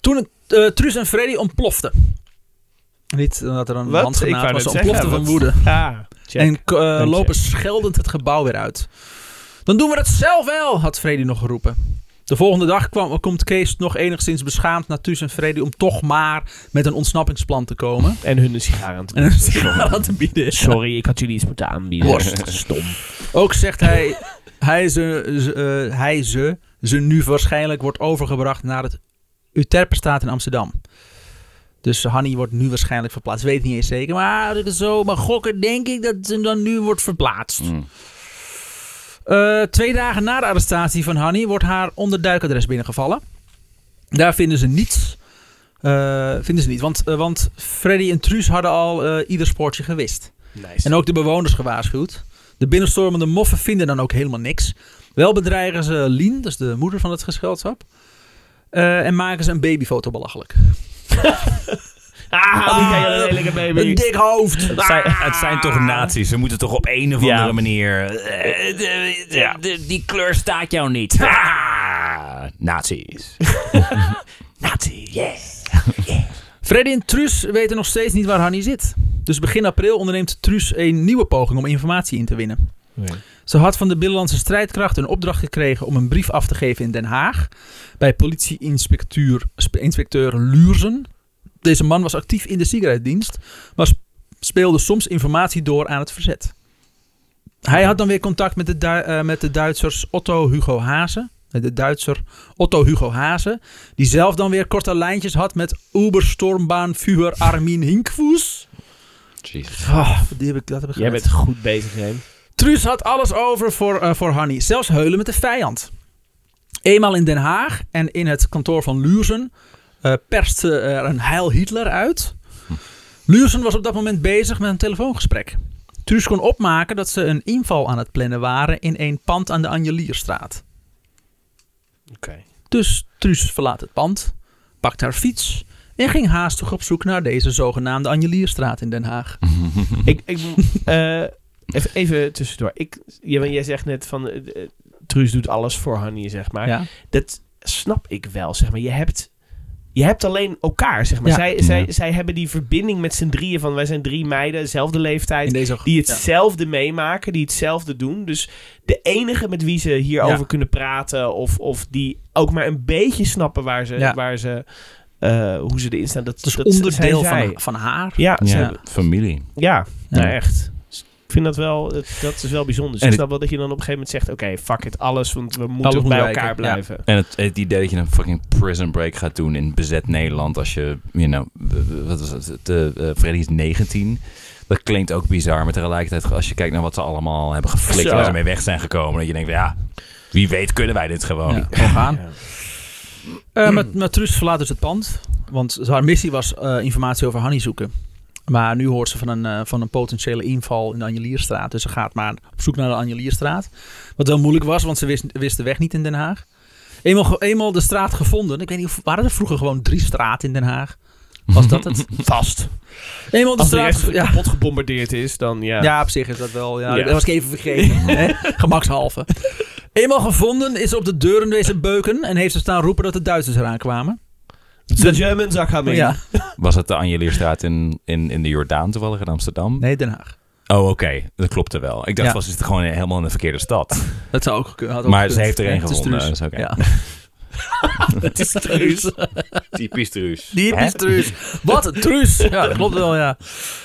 [SPEAKER 1] Toen het, eh, Truus en Freddy ontploften. Niet dat er een
[SPEAKER 3] Wat? Ik
[SPEAKER 1] handgranaat
[SPEAKER 3] wou
[SPEAKER 1] was,
[SPEAKER 3] net
[SPEAKER 1] ze
[SPEAKER 3] zeggen,
[SPEAKER 1] ontploften van
[SPEAKER 3] wat-
[SPEAKER 1] woede.
[SPEAKER 3] Ah, check.
[SPEAKER 1] En eh,
[SPEAKER 3] Check.
[SPEAKER 1] lopen scheldend het gebouw weer uit. Dan doen we het zelf wel, had Freddy nog geroepen. De volgende dag kwam, komt Kees nog enigszins beschaamd naar Truus en Freddy om toch maar met een ontsnappingsplan te komen.
[SPEAKER 3] En hun een sigaar aan te
[SPEAKER 1] En een sigaar aan te bieden. is.
[SPEAKER 3] Sorry, ik had jullie iets moeten aanbieden.
[SPEAKER 1] Worst.
[SPEAKER 3] Stom.
[SPEAKER 1] Ook zegt hij, hij ze, ze, eh, hij ze, ze nu waarschijnlijk wordt overgebracht naar het Uterpenstaat in Amsterdam. Dus Hanny wordt nu waarschijnlijk verplaatst. Weet niet eens zeker, maar ik zo, maar gokken denk ik dat ze dan nu wordt verplaatst.
[SPEAKER 2] Mm.
[SPEAKER 1] Eh, twee dagen na de arrestatie van Hanny wordt haar onderduikadres binnengevallen. Daar vinden ze niets. Eh, vinden ze niet, want, eh, want Freddy en Truus hadden al eh, ieder spoortje gewist.
[SPEAKER 3] Nice.
[SPEAKER 1] En ook de bewoners gewaarschuwd. De binnenstormende moffen vinden dan ook helemaal niks. Wel bedreigen ze Lien, dat is de moeder van het gescheldschap. eh, en maken ze een babyfoto belachelijk.
[SPEAKER 3] Ah, moet jij een lelijke
[SPEAKER 1] Een
[SPEAKER 3] baby.
[SPEAKER 1] dik hoofd.
[SPEAKER 2] Het zijn, het zijn toch nazi's. Ze moeten toch op een of
[SPEAKER 3] Ja.
[SPEAKER 2] andere manier... eh, de- de- de- die kleur staat jou niet. Ah, nazi's. nazi's, yes.
[SPEAKER 1] Freddy en Truus weten nog steeds niet waar Hanny zit. Dus begin april onderneemt Truus een nieuwe poging om informatie in te winnen. Ze had van de Binnenlandse strijdkrachten een opdracht gekregen om een brief af te geven in Den Haag. Bij politieinspecteur spe- inspecteur Luurzen. Deze man was actief in de sigaretdienst, maar sp- speelde soms informatie door aan het verzet. Hij had dan weer contact met de, Du- eh, met de Duitsers Otto Hugo Haase. Met de Duitser Otto Hugo Haase. Die zelf dan weer korte lijntjes had met Uberstormbaanvuur Armin Hinkvoes.
[SPEAKER 2] Jezus.
[SPEAKER 1] Ah, die heb ik, dat heb ik
[SPEAKER 3] Jij
[SPEAKER 1] gered.
[SPEAKER 3] bent goed bezig, Reem.
[SPEAKER 1] Truus had alles over voor, eh voor Hanny. Zelfs heulen met de vijand. Eenmaal in Den Haag en in het kantoor van Luurzen eh, perste er een heil Hitler uit.
[SPEAKER 3] Hm.
[SPEAKER 1] Luurzen was op dat moment bezig met een telefoongesprek. Truus kon opmaken dat ze een inval aan het plannen waren in een pand aan de Angelierstraat.
[SPEAKER 3] Oké.
[SPEAKER 1] Dus Truus verlaat het pand, pakt haar fiets en ging haastig op zoek naar deze zogenaamde Angelierstraat in Den Haag.
[SPEAKER 3] ik, ik, eh, even, even tussendoor. Ik, jij, jij zegt net van... eh, eh, Truus doet alles voor Hanny, zeg maar.
[SPEAKER 1] Ja.
[SPEAKER 3] Dat snap ik wel, zeg maar. Je hebt, je hebt alleen elkaar, zeg maar.
[SPEAKER 1] Ja.
[SPEAKER 3] Zij, zij,
[SPEAKER 2] Ja.
[SPEAKER 3] zij hebben die verbinding met z'n drieën van... Wij zijn drie meiden, dezelfde leeftijd.
[SPEAKER 1] In deze
[SPEAKER 3] die hetzelfde meemaken, die hetzelfde doen. Dus de enige met wie ze hierover
[SPEAKER 1] Ja.
[SPEAKER 3] kunnen praten... Of, of die ook maar een beetje snappen waar ze...
[SPEAKER 1] Ja.
[SPEAKER 3] Waar ze eh, hoe ze erin staan. Dat,
[SPEAKER 1] Het is
[SPEAKER 3] dat
[SPEAKER 1] Dus onderdeel
[SPEAKER 3] zijn zij.
[SPEAKER 1] van, van haar.
[SPEAKER 3] Ja, ze
[SPEAKER 2] Ja,
[SPEAKER 3] hebben-
[SPEAKER 2] familie.
[SPEAKER 3] ja,
[SPEAKER 1] Ja.
[SPEAKER 3] nou echt. Dus Ik vind dat wel, dat, dat is wel bijzonder. Dus
[SPEAKER 2] En
[SPEAKER 3] ik
[SPEAKER 2] het-
[SPEAKER 3] snap wel dat je dan op een gegeven moment zegt... Oké, fuck it, alles, want we moeten
[SPEAKER 1] Alles moet
[SPEAKER 3] bij
[SPEAKER 1] wijken,
[SPEAKER 3] elkaar
[SPEAKER 1] ja.
[SPEAKER 3] blijven.
[SPEAKER 2] En het, het idee dat je een fucking prison break gaat doen in bezet Nederland als je, you know, w- w- wat was het, de, eh, Freddy is 19. Dat klinkt ook bizar, maar tegelijkertijd als je kijkt naar wat ze allemaal hebben geflikt
[SPEAKER 3] Zo.
[SPEAKER 2] waar ze mee weg zijn gekomen, dat je denkt, ja, wie weet kunnen wij dit gewoon.
[SPEAKER 1] Ja, gewoon gaan. Eh, maar, maar Truus verlaat dus het pand. Want haar missie was eh, informatie over Hanny zoeken. Maar nu hoort ze van een, eh, van een potentiële inval in de Angelierstraat. Dus ze gaat maar op zoek naar de Angelierstraat. Wat wel moeilijk was, want ze wist, wist de weg niet in Den Haag. Eenmaal, ge- eenmaal de straat gevonden. Ik weet niet, of- waren er vroeger gewoon drie straten in Den Haag? Was dat het? Vast. Eenmaal de
[SPEAKER 3] Als de
[SPEAKER 1] straat...
[SPEAKER 3] rest
[SPEAKER 1] ge- ja.
[SPEAKER 3] kapot gebombardeerd is, dan ja.
[SPEAKER 1] Ja, op zich is dat wel. Ja,
[SPEAKER 3] Ja.
[SPEAKER 1] Dat was ik even vergeten. hè? Gemakshalve. Eenmaal gevonden is ze op de deuren deze beuken en heeft ze staan roepen dat de Duitsers eraan kwamen.
[SPEAKER 3] De Germans are coming.
[SPEAKER 1] Ja.
[SPEAKER 2] Was het de Angelierstraat in, in, in de Jordaan toevallig in Amsterdam?
[SPEAKER 1] Nee, Den Haag.
[SPEAKER 2] Oh, oké, dat klopte wel. Ik dacht,
[SPEAKER 1] Ja.
[SPEAKER 2] was het gewoon helemaal in de verkeerde stad?
[SPEAKER 1] Dat zou ook kunnen. had ook
[SPEAKER 2] Maar
[SPEAKER 1] gekund.
[SPEAKER 2] ze heeft er één
[SPEAKER 1] Ja, het is
[SPEAKER 2] gewonnen,
[SPEAKER 1] Truus.
[SPEAKER 2] is oké.
[SPEAKER 1] Ja. Het is Truus.
[SPEAKER 2] Typisch truus.
[SPEAKER 1] Die
[SPEAKER 2] Hè?
[SPEAKER 1] is Truus. Wat een Truus. Ja, dat klopt wel, ja.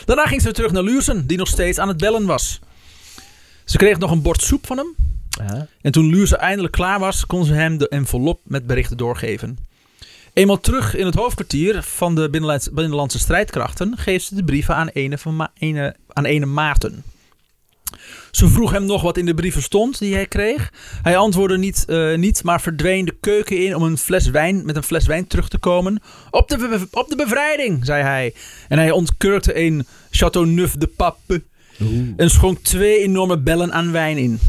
[SPEAKER 1] Daarna ging ze terug naar Luursen, die nog steeds aan het bellen was. Ze kreeg nog een bord soep van hem. En toen Luursen eindelijk klaar was, kon ze hem de envelop met berichten doorgeven. Eenmaal terug in het hoofdkwartier van de Binnenlands- Binnenlandse strijdkrachten geeft ze de brieven aan ene, van Ma- ene, aan ene Maarten. Ze vroeg hem nog wat in de brieven stond die hij kreeg. Hij antwoordde niet, eh, niet maar verdween de keuken in om een fles wijn, met een fles wijn terug te komen. Op de, be- op de bevrijding, zei hij. En hij ontkurkte een Chateauneuf de Pape en schonk twee enorme bellen aan wijn in.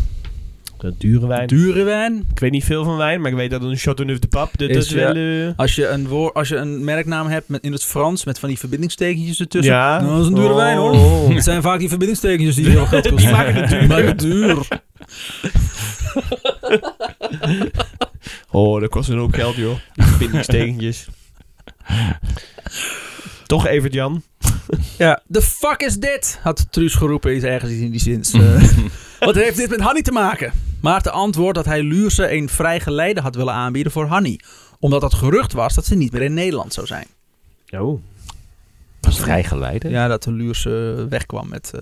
[SPEAKER 3] Dat dure wijn.
[SPEAKER 1] Dure wijn,
[SPEAKER 3] Ik weet niet veel van wijn, maar ik weet dat een Chateauneuf de Pap, dat,
[SPEAKER 1] Is,
[SPEAKER 3] dat is wel... eh,
[SPEAKER 1] Als je een, woor, als je een merknaam hebt met, in het Frans met van die verbindingstekentjes ertussen.
[SPEAKER 3] Ja.
[SPEAKER 1] Dat is een dure
[SPEAKER 3] Oh.
[SPEAKER 1] wijn hoor. Het zijn vaak die verbindingstekentjes die heel veel geld kosten. Die maken het duur. duur.
[SPEAKER 3] Oh, dat kost een hoop geld, joh. Die verbindingstekentjes. Toch, Evert Jan?
[SPEAKER 1] Ja. The fuck is dit? Had Truus geroepen. Is ergens iets in die zin. Eh, Wat heeft dit met Hanny te maken? Maarten antwoordt dat hij Luurse een vrij geleide had willen aanbieden voor Hanny. Omdat het gerucht was dat ze niet meer in Nederland zou zijn.
[SPEAKER 3] Oh.
[SPEAKER 2] Was vrijgeleide?
[SPEAKER 1] Ja, dat de Luurse wegkwam met... eh,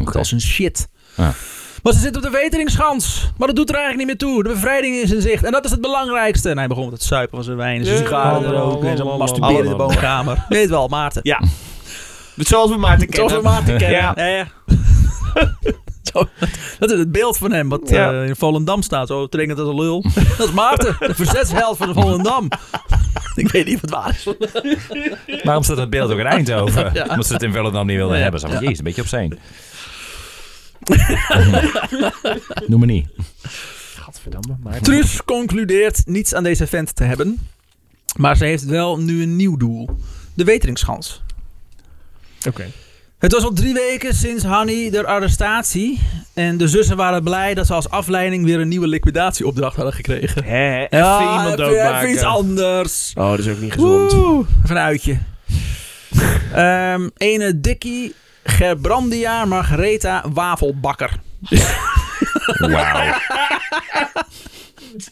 [SPEAKER 2] Oké.
[SPEAKER 1] Dat is een shit.
[SPEAKER 2] Ja.
[SPEAKER 1] Maar ze zitten op de Weteringschans. Maar dat doet er eigenlijk niet meer toe. De bevrijding is in zicht. En dat is het belangrijkste. En hij begon met het suipen van zijn wijn. En zijn
[SPEAKER 3] Ja,
[SPEAKER 1] sigaren
[SPEAKER 3] allemaal,
[SPEAKER 1] roken. En zijn
[SPEAKER 3] allemaal,
[SPEAKER 1] masturberen in de
[SPEAKER 3] allemaal.
[SPEAKER 1] boomkamer. Weet wel, Maarten.
[SPEAKER 3] Ja. Zoals we Maarten kennen.
[SPEAKER 1] Zoals we Maarten kennen.
[SPEAKER 3] Ja.
[SPEAKER 1] Ja, ja. Zo, dat is het beeld van hem wat
[SPEAKER 3] Ja.
[SPEAKER 1] eh, in Volendam staat. Zo dringend als een lul. Dat is Maarten, de verzetsheld van Volendam. Ik weet niet wat waar is.
[SPEAKER 2] Waarom staat dat beeld ook in Eindhoven?
[SPEAKER 1] Ja.
[SPEAKER 2] Omdat ze het in Volendam niet wilden
[SPEAKER 1] Ja.
[SPEAKER 2] hebben. Ze van, jezus, een beetje op zijn. Noem me niet.
[SPEAKER 3] Gadverdamme, Maarten.
[SPEAKER 1] Truus concludeert niets aan deze vent te hebben. Maar ze heeft wel nu een nieuw doel. De Weteringschans.
[SPEAKER 3] Oké.
[SPEAKER 1] Het was al drie weken sinds Hanny de arrestatie. En de zussen waren blij dat ze als afleiding weer een nieuwe liquidatieopdracht hadden gekregen.
[SPEAKER 3] Hè, even
[SPEAKER 1] Ja,
[SPEAKER 3] iemand
[SPEAKER 1] even-
[SPEAKER 3] doodmaken.
[SPEAKER 1] even iets anders.
[SPEAKER 3] Oh, dat is ook niet gezond.
[SPEAKER 1] Oeh, even een uitje. Ehm, ene Dikkie Gerbrandia Margaretha Wafelbakker.
[SPEAKER 2] Wauw.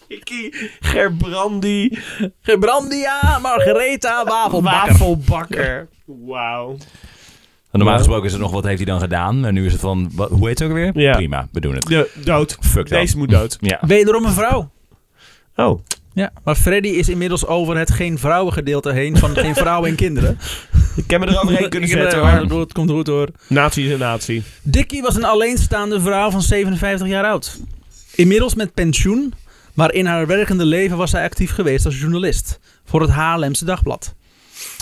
[SPEAKER 3] Dikkie, Gerbrandi,
[SPEAKER 1] Gerbrandia Margaretha Wafelbakker.
[SPEAKER 3] wafelbakker. Wauw.
[SPEAKER 2] Normaal gesproken is het nog, wat heeft hij dan gedaan? Maar nu is het van, wat, hoe heet het ook weer?
[SPEAKER 3] Ja.
[SPEAKER 2] Prima, we doen het.
[SPEAKER 3] De, dood.
[SPEAKER 2] Fuck dat.
[SPEAKER 3] Deze moet dood.
[SPEAKER 2] Ja.
[SPEAKER 1] Wederom een vrouw.
[SPEAKER 3] Oh.
[SPEAKER 1] Ja, maar Freddy is inmiddels over het geen vrouwengedeelte heen van geen vrouwen en kinderen.
[SPEAKER 3] Ik heb me eroverheen kunnen
[SPEAKER 1] Ik heb
[SPEAKER 3] zetten
[SPEAKER 1] er-
[SPEAKER 3] hoor.
[SPEAKER 1] hoor, Het komt goed hoor.
[SPEAKER 3] Nazi is een nazi.
[SPEAKER 1] Dickie was een alleenstaande vrouw van 57 jaar oud. Inmiddels met pensioen, maar in haar werkende leven was zij actief geweest als journalist voor het Haarlemse Dagblad.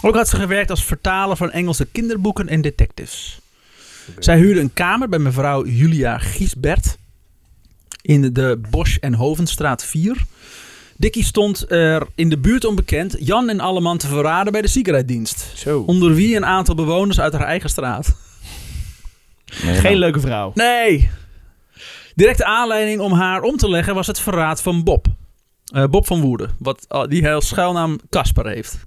[SPEAKER 1] Ook had ze gewerkt als vertaler van Engelse kinderboeken en detectives. Zij huurde een kamer bij mevrouw Julia Giesbert in de Bosch en Hovenstraat 4. Dickie stond er in de buurt onbekend Jan en Alleman te verraden bij de ziekenhuisdienst.
[SPEAKER 3] Zo.
[SPEAKER 1] Onder wie een aantal bewoners uit haar eigen straat.
[SPEAKER 3] Geen
[SPEAKER 2] nou.
[SPEAKER 3] leuke vrouw.
[SPEAKER 1] Nee. Directe aanleiding om haar om te leggen was het verraad van Bob. Eh, Bob van Woerden, wat, al- die heel schuilnaam Casper heeft.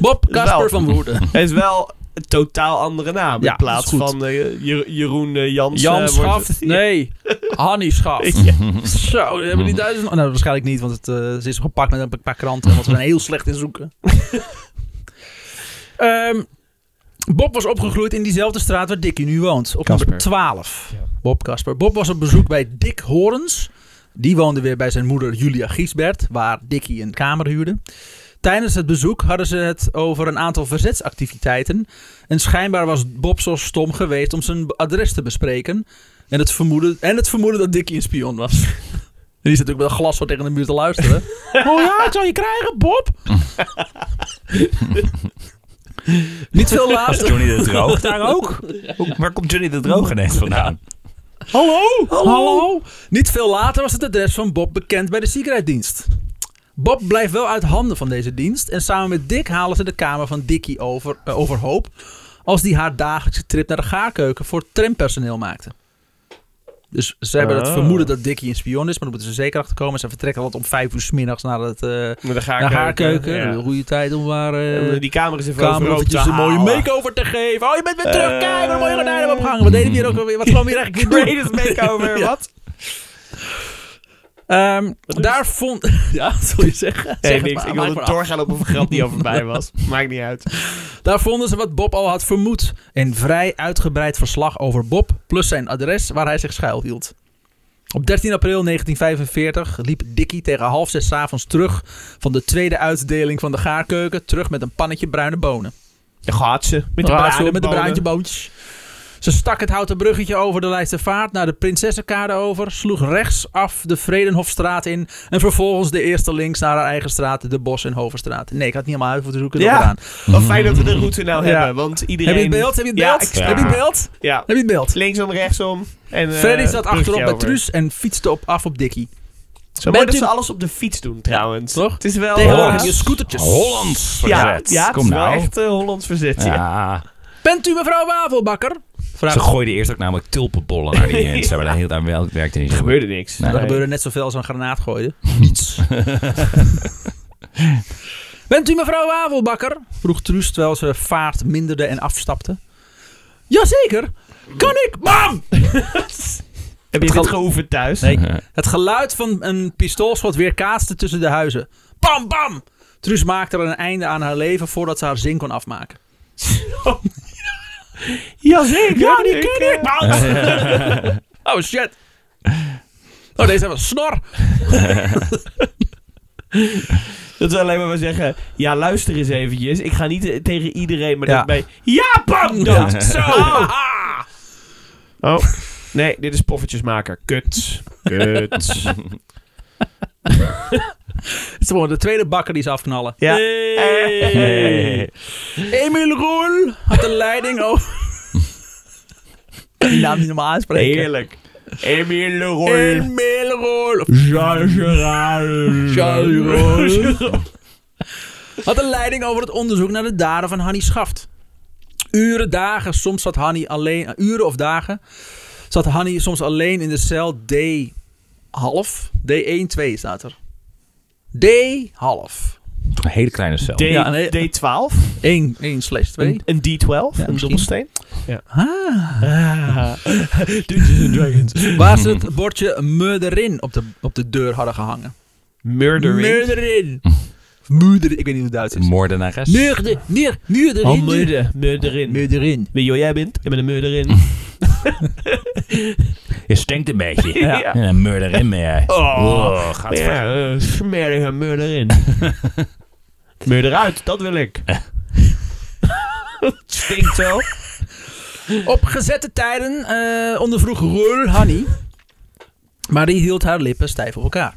[SPEAKER 1] Bob
[SPEAKER 3] Wel.
[SPEAKER 1] Casper van Woerden.
[SPEAKER 3] Hij is wel een totaal andere naam.
[SPEAKER 1] Ja,
[SPEAKER 3] in plaats
[SPEAKER 1] dat is goed.
[SPEAKER 3] van eh, Jer- Jeroen eh, Jans. eh,
[SPEAKER 1] Jan
[SPEAKER 3] wordt-
[SPEAKER 1] Schaft? Nee, Hanny Schaft.
[SPEAKER 3] Ja.
[SPEAKER 1] Zo, die hebben die duizend... Nou, waarschijnlijk niet, want het, eh, ze is gepakt met een paar kranten. Want ze zijn heel slecht in zoeken. Ehm, Bob was opgegroeid in diezelfde straat waar Dickie nu woont. Op nummer
[SPEAKER 3] Casper.
[SPEAKER 1] 12. Bob Kasper. Bob was op bezoek bij Dick Horens. Die woonde weer bij zijn moeder Julia Giesbert, waar Dickie een kamer huurde. Tijdens het bezoek hadden ze het over een aantal verzetsactiviteiten. En schijnbaar was Bob zo stom geweest om zijn adres te bespreken. En het vermoeden, en het vermoeden dat Dickie een spion was. En die zit ook met een glas zo tegen de muur te luisteren. oh ja, het zal je krijgen, Bob. Niet veel
[SPEAKER 2] Als
[SPEAKER 1] later.
[SPEAKER 2] Johnny de Droog daar ook.
[SPEAKER 1] ook.
[SPEAKER 2] Hoe- Waar komt Johnny de Droog ineens vandaan?
[SPEAKER 1] Hallo? Hallo? Niet veel later was het adres van Bob bekend bij de ziekenhuisdienst. Bob blijft wel uit handen van deze dienst en samen met Dick halen ze de kamer van Dickie over, eh, overhoop als die haar dagelijkse trip naar de gaarkeuken voor trampersoneel maakte. Dus ze hebben het
[SPEAKER 3] Oh.
[SPEAKER 1] vermoeden dat Dickie een spion is, maar daar moeten ze zeker achter komen. Ze vertrekken altijd om vijf uur 's middags naar, het, eh,
[SPEAKER 3] Met de
[SPEAKER 1] naar
[SPEAKER 3] gaarkeuken.
[SPEAKER 1] gaarkeuken.
[SPEAKER 3] Ja.
[SPEAKER 1] Een goede tijd om haar eh,
[SPEAKER 3] Om Die kamer is even
[SPEAKER 1] kamer
[SPEAKER 3] overhoop te
[SPEAKER 1] eventjes een mooie
[SPEAKER 3] halen. Eh.
[SPEAKER 1] makeover te geven. Oh, je bent weer terug. Kijk, wat een mooie gordijnen opgehangen. Wat deden we hier ook alweer? Wat kwam hier eigenlijk weer doen?
[SPEAKER 3] Greatest makeover,
[SPEAKER 1] Ja.
[SPEAKER 3] wat?
[SPEAKER 1] Ehm, daar vond. Ja, dat wil je zeggen. Zeg
[SPEAKER 3] Nee,
[SPEAKER 1] het
[SPEAKER 3] niks.
[SPEAKER 1] maar,
[SPEAKER 3] Ik
[SPEAKER 1] maak
[SPEAKER 3] wilde
[SPEAKER 1] maar af.
[SPEAKER 3] doorgaan op een vergrap die al voorbij was. Maakt niet uit.
[SPEAKER 1] Daar vonden ze wat Bob al had vermoed. Een vrij uitgebreid verslag over Bob. Plus zijn adres waar hij zich schuilhield. Op 13 april 1945 liep Dickie tegen half zes 's avonds terug. van de tweede uitdeling van de gaarkeuken. terug met een pannetje bruine bonen.
[SPEAKER 3] De gaat ze. Met de
[SPEAKER 1] Raad zo,
[SPEAKER 3] bruine
[SPEAKER 1] met de
[SPEAKER 3] bonen.
[SPEAKER 1] bruintjeboontjes. Ze stak het houten bruggetje over de Leidstervaart naar de Prinsessenkade over, sloeg rechtsaf de Vredenhofstraat in en vervolgens de eerste links naar haar eigen straat, de Bos- en Hovenstraat. Nee, ik had niet helemaal uit moeten zoeken.
[SPEAKER 3] Ja.
[SPEAKER 1] Ja.
[SPEAKER 3] Wat fijn dat we de route nou
[SPEAKER 1] Ja.
[SPEAKER 3] hebben, want iedereen...
[SPEAKER 1] Heb je het beeld? Heb je het
[SPEAKER 3] Ja,
[SPEAKER 1] beeld?
[SPEAKER 3] ik
[SPEAKER 2] snap
[SPEAKER 1] Heb je het
[SPEAKER 2] het.
[SPEAKER 1] beeld?
[SPEAKER 3] Ja,
[SPEAKER 1] Heb je het beeld?
[SPEAKER 3] linksom, rechtsom. En, eh,
[SPEAKER 1] Freddy zat
[SPEAKER 3] bruggetje
[SPEAKER 1] achterop bij
[SPEAKER 3] over.
[SPEAKER 1] Truus en fietste op, af op Dickie.
[SPEAKER 3] Zo
[SPEAKER 1] Bent
[SPEAKER 3] mooi dat
[SPEAKER 1] u-
[SPEAKER 3] ze alles op de fiets doen, trouwens.
[SPEAKER 1] toch?
[SPEAKER 3] Het is wel...
[SPEAKER 1] Tegenwoordig
[SPEAKER 2] Hollands.
[SPEAKER 1] je scootertjes.
[SPEAKER 2] Hollands
[SPEAKER 3] Ja,
[SPEAKER 2] verzet.
[SPEAKER 3] ja, het
[SPEAKER 2] Kom
[SPEAKER 3] is wel
[SPEAKER 2] nou.
[SPEAKER 3] echt eh, Hollands verzet. Ja.
[SPEAKER 2] Ja.
[SPEAKER 1] Bent u mevrouw Wafelbakker? Vraag.
[SPEAKER 2] Ze gooiden eerst ook namelijk tulpenbollen naar die mensen. Maar dat heel- daar wel- werkte niet.
[SPEAKER 3] Er gebeurde niks.
[SPEAKER 2] Nee.
[SPEAKER 1] Er gebeurde net zoveel als een granaat gooien. Niets. Bent u mevrouw Wafelbakker? vroeg Truus terwijl ze vaart minderde en afstapte. Jazeker! Kan ik, mam!
[SPEAKER 3] Heb je
[SPEAKER 1] Het
[SPEAKER 3] dit
[SPEAKER 1] gal-
[SPEAKER 3] geoefend thuis?
[SPEAKER 1] Nee, het geluid van een pistoolschot weerkaatste tussen de huizen. Bam, bam! Truus maakte er een einde aan haar leven voordat ze haar zin kon afmaken.
[SPEAKER 3] Jazeker.
[SPEAKER 1] Ja, die ken ik,
[SPEAKER 3] eh,
[SPEAKER 1] man. oh, shit. Oh, deze hebben een snor.
[SPEAKER 3] Dat we alleen maar maar zeggen... Ja, luister eens eventjes. Ik ga niet eh, tegen iedereen, maar
[SPEAKER 1] Ja.
[SPEAKER 3] dat bij... Ja, bam! Dood.
[SPEAKER 1] Ja.
[SPEAKER 3] Zo.
[SPEAKER 1] Haha.
[SPEAKER 3] Oh. Nee, dit is poffertjesmaker. Kut. Kut.
[SPEAKER 1] Het is gewoon de tweede bakker die ze afknallen.
[SPEAKER 3] Ja.
[SPEAKER 1] Hey.
[SPEAKER 3] Hey.
[SPEAKER 1] Emil Roel had de leiding over... Die naam niet normaal aanspreken.
[SPEAKER 3] Heerlijk. Emile Leroy.
[SPEAKER 1] Emil Roel. Charles
[SPEAKER 3] Jean-Gerard.
[SPEAKER 1] Roel. Had de leiding over het onderzoek naar de daden van Hanni Schaft. Uren, dagen, soms zat Hanny alleen, eh, uren of dagen, zat Hanny soms alleen in de cel D half. D1, 2 staat er. D half.
[SPEAKER 2] Een hele kleine cel.
[SPEAKER 3] D,
[SPEAKER 1] Ja, nee.
[SPEAKER 3] D12,
[SPEAKER 1] 1, 1 slash 2.
[SPEAKER 3] een, een D12, een
[SPEAKER 1] misschien.
[SPEAKER 3] dobbelsteen.
[SPEAKER 1] Ah.
[SPEAKER 3] Ah. Dungeons and Dragons.
[SPEAKER 1] Waar ze het bordje murderin op de, op de deur hadden gehangen.
[SPEAKER 3] Murdering.
[SPEAKER 1] Murderin. Murderin. Ik weet niet hoe het Duits is.
[SPEAKER 2] Moordenares.
[SPEAKER 1] Murder, neer, murderin.
[SPEAKER 3] Oh, murder. Murderin.
[SPEAKER 1] Murderin.
[SPEAKER 3] Weet je wat jij bent? Ik ben een murderin.
[SPEAKER 2] Je stinkt een beetje.
[SPEAKER 3] Ja.
[SPEAKER 2] En een murder in meer. Oh, gaat ver.
[SPEAKER 3] Ja, eh, smerige murderin. Murder uit, dat wil ik. Stinkt wel.
[SPEAKER 1] Op gezette tijden eh, ondervroeg Roel Hanny. Maar die hield haar lippen stijf op elkaar.